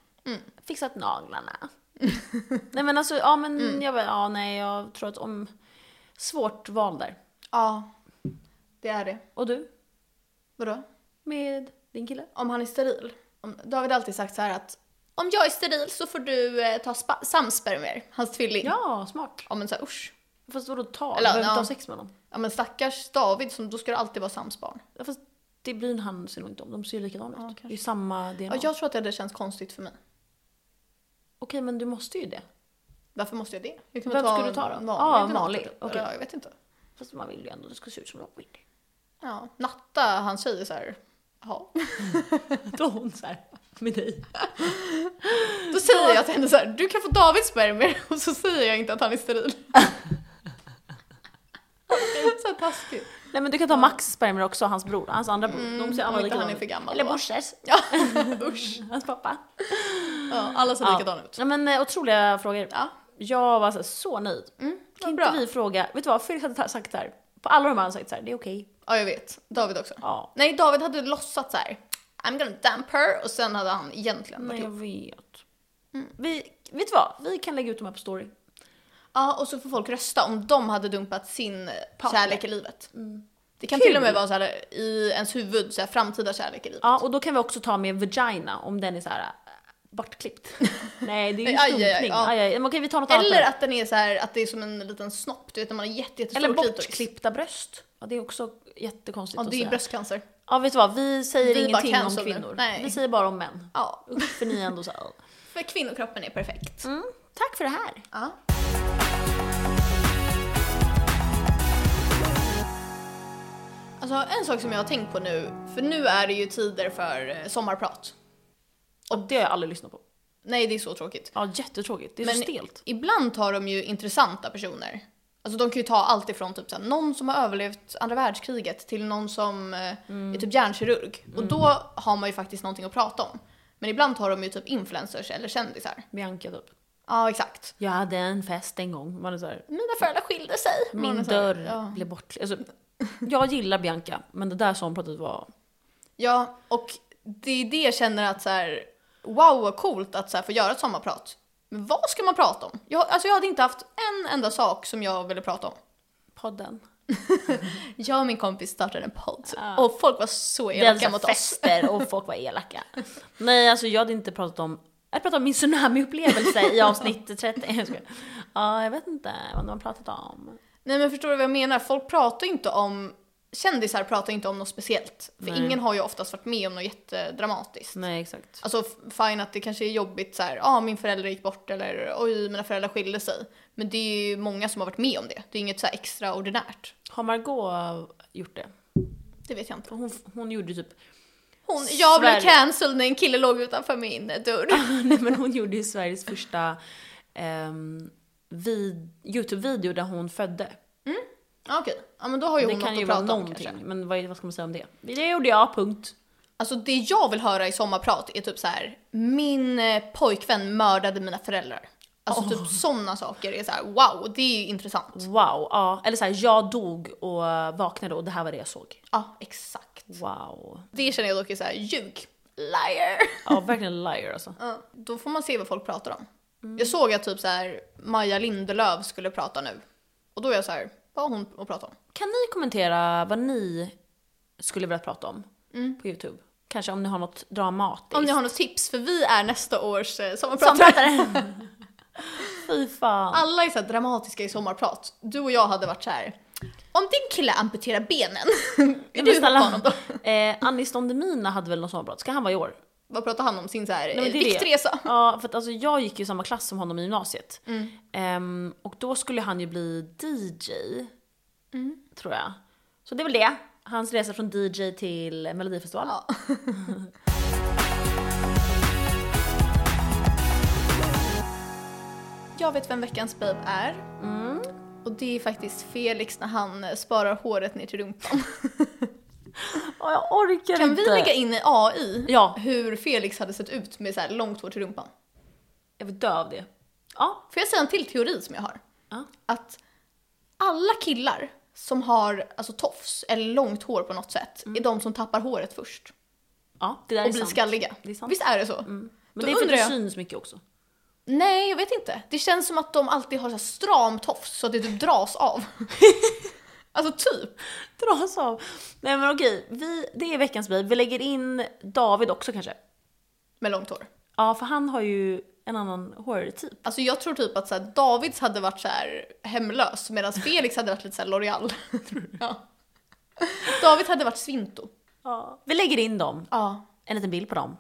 [SPEAKER 1] Fixat naglarna. nej men alltså, ja men jag bara, ja nej jag tror att om... Svårt val där.
[SPEAKER 2] ja, det är det.
[SPEAKER 1] Och du?
[SPEAKER 2] Vadå?
[SPEAKER 1] Med din kille?
[SPEAKER 2] Om han är steril. Om, David har alltid sagt så här att om jag är steril så får du eh, ta spa- samspermier, hans tvilling.
[SPEAKER 1] Ja, smart.
[SPEAKER 2] Ja men så här, usch.
[SPEAKER 1] Fast vadå ta? Du
[SPEAKER 2] Eller,
[SPEAKER 1] behöver inte
[SPEAKER 2] ja.
[SPEAKER 1] ha sex med honom.
[SPEAKER 2] Ja men stackars David, som, då ska det alltid vara samsbarn.
[SPEAKER 1] Ja, Fast det blir han ser nog inte om, de ser ju likadana
[SPEAKER 2] Ja,
[SPEAKER 1] ut.
[SPEAKER 2] kanske.
[SPEAKER 1] Det är ju samma DNA.
[SPEAKER 2] Ja, jag tror att det hade känts konstigt för mig.
[SPEAKER 1] Okej men du måste ju det.
[SPEAKER 2] Varför måste jag det? Jag
[SPEAKER 1] Vem skulle du ta då?
[SPEAKER 2] en
[SPEAKER 1] Ja,
[SPEAKER 2] donator
[SPEAKER 1] vanlig.
[SPEAKER 2] typ.
[SPEAKER 1] Okej.
[SPEAKER 2] Ja, jag vet inte.
[SPEAKER 1] Fast man vill ju ändå att det ska se ut som Rob Willy.
[SPEAKER 2] Ja. Natta, han säger så här. Ja.
[SPEAKER 1] Då är hon såhär, med dig.
[SPEAKER 2] Då säger jag till henne så här, du kan få Davids spermier och så säger jag inte att han är steril. så här taskigt.
[SPEAKER 1] Nej men du kan ta Max spermier också, hans bror, hans andra bror. de ser
[SPEAKER 2] Mm, om
[SPEAKER 1] alla
[SPEAKER 2] inte
[SPEAKER 1] likadana
[SPEAKER 2] han är
[SPEAKER 1] ut.
[SPEAKER 2] för gammal
[SPEAKER 1] Eller
[SPEAKER 2] då.
[SPEAKER 1] Borses,
[SPEAKER 2] Ja, usch.
[SPEAKER 1] hans pappa.
[SPEAKER 2] Ja, alla ser
[SPEAKER 1] Ja.
[SPEAKER 2] likadana ut.
[SPEAKER 1] Ja men eh, otroliga frågor.
[SPEAKER 2] Ja. Mm,
[SPEAKER 1] Jag var så, här, så nöjd.
[SPEAKER 2] vad
[SPEAKER 1] kan
[SPEAKER 2] bra.
[SPEAKER 1] inte vi fråga, vet du vad Felix hade sagt här. På alla de här han sagt såhär, det är okej.
[SPEAKER 2] Ja, jag vet. David också.
[SPEAKER 1] Ja.
[SPEAKER 2] Nej, David hade låtsats så här. I'm gonna dump her och sen hade han egentligen varit
[SPEAKER 1] Nej jag
[SPEAKER 2] ihop.
[SPEAKER 1] vet.
[SPEAKER 2] Mm.
[SPEAKER 1] Vi, vet du vad, vi kan lägga ut dem här på story.
[SPEAKER 2] Ja, och så får folk rösta om de hade dumpat sin
[SPEAKER 1] Partner. Mm.
[SPEAKER 2] kärlek i livet. Det kan
[SPEAKER 1] Kul.
[SPEAKER 2] till och med vara så här i ens huvud, så här, framtida kärlek i livet.
[SPEAKER 1] Ja och då kan vi också ta med vagina om den är så här äh, bortklippt. Nej det är ju
[SPEAKER 2] Aj, aj, aj,
[SPEAKER 1] stumpning. Aj, aj,
[SPEAKER 2] ja.
[SPEAKER 1] Men okej vi tar något annat.
[SPEAKER 2] Eller
[SPEAKER 1] då.
[SPEAKER 2] att den är så här, att det är som en liten snopp, du vet när man har jätte, jättestor
[SPEAKER 1] Eller
[SPEAKER 2] klitoris.
[SPEAKER 1] bortklippta bröst. Ja, det är också jättekonstigt
[SPEAKER 2] Ja,
[SPEAKER 1] att
[SPEAKER 2] det är
[SPEAKER 1] säga.
[SPEAKER 2] bröstcancer.
[SPEAKER 1] Ja, vet du vad? Vi säger
[SPEAKER 2] Vi är bara
[SPEAKER 1] ingenting om
[SPEAKER 2] cancel nu.
[SPEAKER 1] kvinnor.
[SPEAKER 2] Nej.
[SPEAKER 1] Vi säger bara om män.
[SPEAKER 2] Ja,
[SPEAKER 1] Usch, för ni är ändå så här.
[SPEAKER 2] för kvinnokroppen är perfekt.
[SPEAKER 1] Mm, tack för det här.
[SPEAKER 2] Ja. Alltså en sak som jag har tänkt på nu, för nu är det ju tider för eh, sommarprat.
[SPEAKER 1] Och det har jag aldrig lyssnat på.
[SPEAKER 2] Nej, det är så tråkigt.
[SPEAKER 1] Ja, jättetråkigt. Det är så stelt.
[SPEAKER 2] ibland tar de ju intressanta personer. Alltså de kan ju ta allt ifrån typ såhär, någon som har överlevt andra världskriget till någon som eh, är typ hjärnkirurg. Och då har man ju faktiskt någonting att prata om. Men ibland tar de ju typ influencers eller kändisar.
[SPEAKER 1] Bianca typ.
[SPEAKER 2] Ja, exakt.
[SPEAKER 1] Jag hade en fest en gång. Man är så här,
[SPEAKER 2] Mina föräldrar skilde sig.
[SPEAKER 1] min
[SPEAKER 2] Mina föräldrar-
[SPEAKER 1] dörr
[SPEAKER 2] Ja.
[SPEAKER 1] blev bortklippt. Alltså, jag gillar Bianca, men det där sommarpratet var...
[SPEAKER 2] ja, och det är det jag känner att så här, wow vad coolt att så här, få göra ett sommarprat. Men vad ska man prata om? Jag, alltså jag hade inte haft en enda sak som jag ville prata om.
[SPEAKER 1] Podden.
[SPEAKER 2] Jag och min kompis startade en podd
[SPEAKER 1] Ja. alltså
[SPEAKER 2] och folk var så
[SPEAKER 1] Vi hade
[SPEAKER 2] elaka
[SPEAKER 1] så
[SPEAKER 2] mot
[SPEAKER 1] här
[SPEAKER 2] oss.
[SPEAKER 1] fester och folk var elaka. Nej, alltså jag hade inte pratat om... Jag hade pratat om min tsunamiupplevelse i avsnitt 30. Jag skojar. Ja, jag vet inte vad de har pratat om.
[SPEAKER 2] Nej men förstår du vad jag menar? Folk pratar ju inte om, kändisar pratar inte om något speciellt. För
[SPEAKER 1] Nej. Mm.
[SPEAKER 2] ingen har ju oftast varit med om något jättedramatiskt.
[SPEAKER 1] Nej, exakt.
[SPEAKER 2] Alltså f- fine att det kanske är jobbigt så här, ja ah, min förälder gick bort eller oj mina föräldrar skilde sig. Men det är ju många som har varit med om det. Det är inget så här extraordinärt.
[SPEAKER 1] Har Margot gjort det?
[SPEAKER 2] Det vet jag inte.
[SPEAKER 1] Hon, hon gjorde ju typ...
[SPEAKER 2] Hon, jag blev
[SPEAKER 1] Sverige.
[SPEAKER 2] cancelled när en kille låg utanför min dörr.
[SPEAKER 1] Nej, men hon gjorde ju Sveriges första ehm, vid, YouTube-video där hon födde.
[SPEAKER 2] Ja, Okej, ja men då har ju
[SPEAKER 1] Det
[SPEAKER 2] hon
[SPEAKER 1] kan
[SPEAKER 2] något
[SPEAKER 1] ju
[SPEAKER 2] att
[SPEAKER 1] vara
[SPEAKER 2] prata om
[SPEAKER 1] någonting,
[SPEAKER 2] kanske.
[SPEAKER 1] men vad, vad ska man säga om det? Det gjorde jag, punkt.
[SPEAKER 2] Alltså det jag vill höra i sommarprat är typ så här: min eh, pojkvän mördade mina föräldrar. Alltså typ sådana saker är så här: wow, det är ju intressant.
[SPEAKER 1] Wow, ja. Eller så här, jag dog och vaknade och det här var det jag såg.
[SPEAKER 2] Ja, exakt.
[SPEAKER 1] Wow.
[SPEAKER 2] Det känner jag dock är såhär, ljug, liar.
[SPEAKER 1] Ja, verkligen liar alltså.
[SPEAKER 2] Ja, Då får man se vad folk pratar om. Jag såg att typ så här, Maja Lindelöf skulle prata nu. Och då är jag så här, vad har hon att prata om?
[SPEAKER 1] Kan ni kommentera vad ni skulle vilja prata om på YouTube? Kanske om ni har något dramatiskt.
[SPEAKER 2] Mm. Om ni har något tips, för vi är nästa års eh, sommarpratare.
[SPEAKER 1] Samtalare! Fy fan.
[SPEAKER 2] Alla är så här dramatiska i sommarprat. Du och jag hade varit så här. om din kille amputerar benen, är
[SPEAKER 1] Men
[SPEAKER 2] du
[SPEAKER 1] snälla.
[SPEAKER 2] snälla. honom då?
[SPEAKER 1] Eh, Anis Don Demina hade väl något sommarprat? Ska han vara i år?
[SPEAKER 2] Vad pratar han om? Sin så här,
[SPEAKER 1] Nej, men
[SPEAKER 2] eh,
[SPEAKER 1] det är det.
[SPEAKER 2] diktresa?
[SPEAKER 1] Ja, för att alltså, jag gick ju i samma klass som honom i gymnasiet. Ehm, och då skulle han ju bli DJ, tror jag. Så det är väl det. Hans resa från DJ till Melodifestivalen.
[SPEAKER 2] Ja. Jag vet vem veckans babe är.
[SPEAKER 1] Mm.
[SPEAKER 2] Och det är faktiskt Felix när han eh, sparar håret ner till rumpan.
[SPEAKER 1] Ja, jag orkar
[SPEAKER 2] Kan
[SPEAKER 1] inte.
[SPEAKER 2] vi lägga in i AI
[SPEAKER 1] Ja.
[SPEAKER 2] hur Felix hade sett ut med så här långt hår till rumpan?
[SPEAKER 1] Jag vill dö av det. Ja.
[SPEAKER 2] Får jag säga en till teori som jag har?
[SPEAKER 1] ja.
[SPEAKER 2] Att alla killar som har alltså, tofs eller långt hår på något sätt är de som tappar håret först
[SPEAKER 1] Ja, Mm. det där
[SPEAKER 2] och
[SPEAKER 1] är
[SPEAKER 2] blir
[SPEAKER 1] sant.
[SPEAKER 2] skalliga.
[SPEAKER 1] Det är sant. Mm.
[SPEAKER 2] Visst är det så?
[SPEAKER 1] Men
[SPEAKER 2] Då
[SPEAKER 1] det är för att
[SPEAKER 2] undrar
[SPEAKER 1] det
[SPEAKER 2] jag-
[SPEAKER 1] syns mycket också.
[SPEAKER 2] Nej, jag vet inte. Det känns som att de alltid har så här stram tofs så att det typ dras av. alltså typ.
[SPEAKER 1] Dras av. Nej men okej, vi, det är veckans babe. Vi lägger in David också kanske.
[SPEAKER 2] Med långt hår.
[SPEAKER 1] Ja, för han har ju en annan hårtyp.
[SPEAKER 2] Alltså jag tror typ att så här, Davids hade varit så här hemlös medan Felix hade varit lite så här L'Oreal. ja. David hade varit svinto.
[SPEAKER 1] Ja. Mm. Vi lägger in dem.
[SPEAKER 2] Ja.
[SPEAKER 1] En liten bild på dem.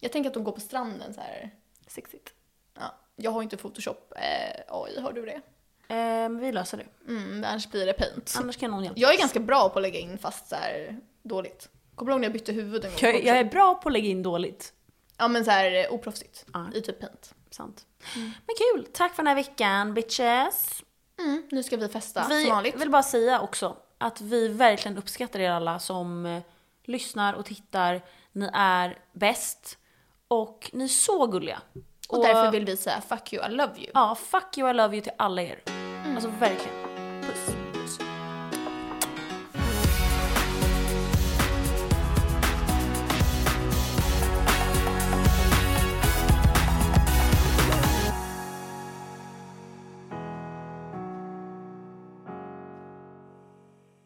[SPEAKER 2] Jag tänker att de går på stranden så här.
[SPEAKER 1] Sexigt.
[SPEAKER 2] Ja. Jag har ju inte Photoshop eh, AI, har du det?
[SPEAKER 1] Eh, men vi löser det.
[SPEAKER 2] Mm, annars blir det paint.
[SPEAKER 1] Annars kan någon hjälpa
[SPEAKER 2] Jag är
[SPEAKER 1] oss.
[SPEAKER 2] ganska bra på att lägga in fast så här dåligt. Kommer du ihåg när jag bytte huvud en gång?
[SPEAKER 1] jag, jag är bra på att lägga in dåligt.
[SPEAKER 2] Ja men så här eh, oproffsigt.
[SPEAKER 1] Ja.
[SPEAKER 2] I typ paint.
[SPEAKER 1] Sant. Men kul! Tack för den här veckan bitches!
[SPEAKER 2] Mm, nu ska vi festa
[SPEAKER 1] vi
[SPEAKER 2] som vanligt.
[SPEAKER 1] vill bara säga också att vi verkligen uppskattar er alla som eh, lyssnar och tittar. Ni är bäst och ni är så gulliga.
[SPEAKER 2] Och därför vill vi säga fuck you, I love you. Mm.
[SPEAKER 1] Ja, fuck you, I love you till alla er. Alltså verkligen. Puss.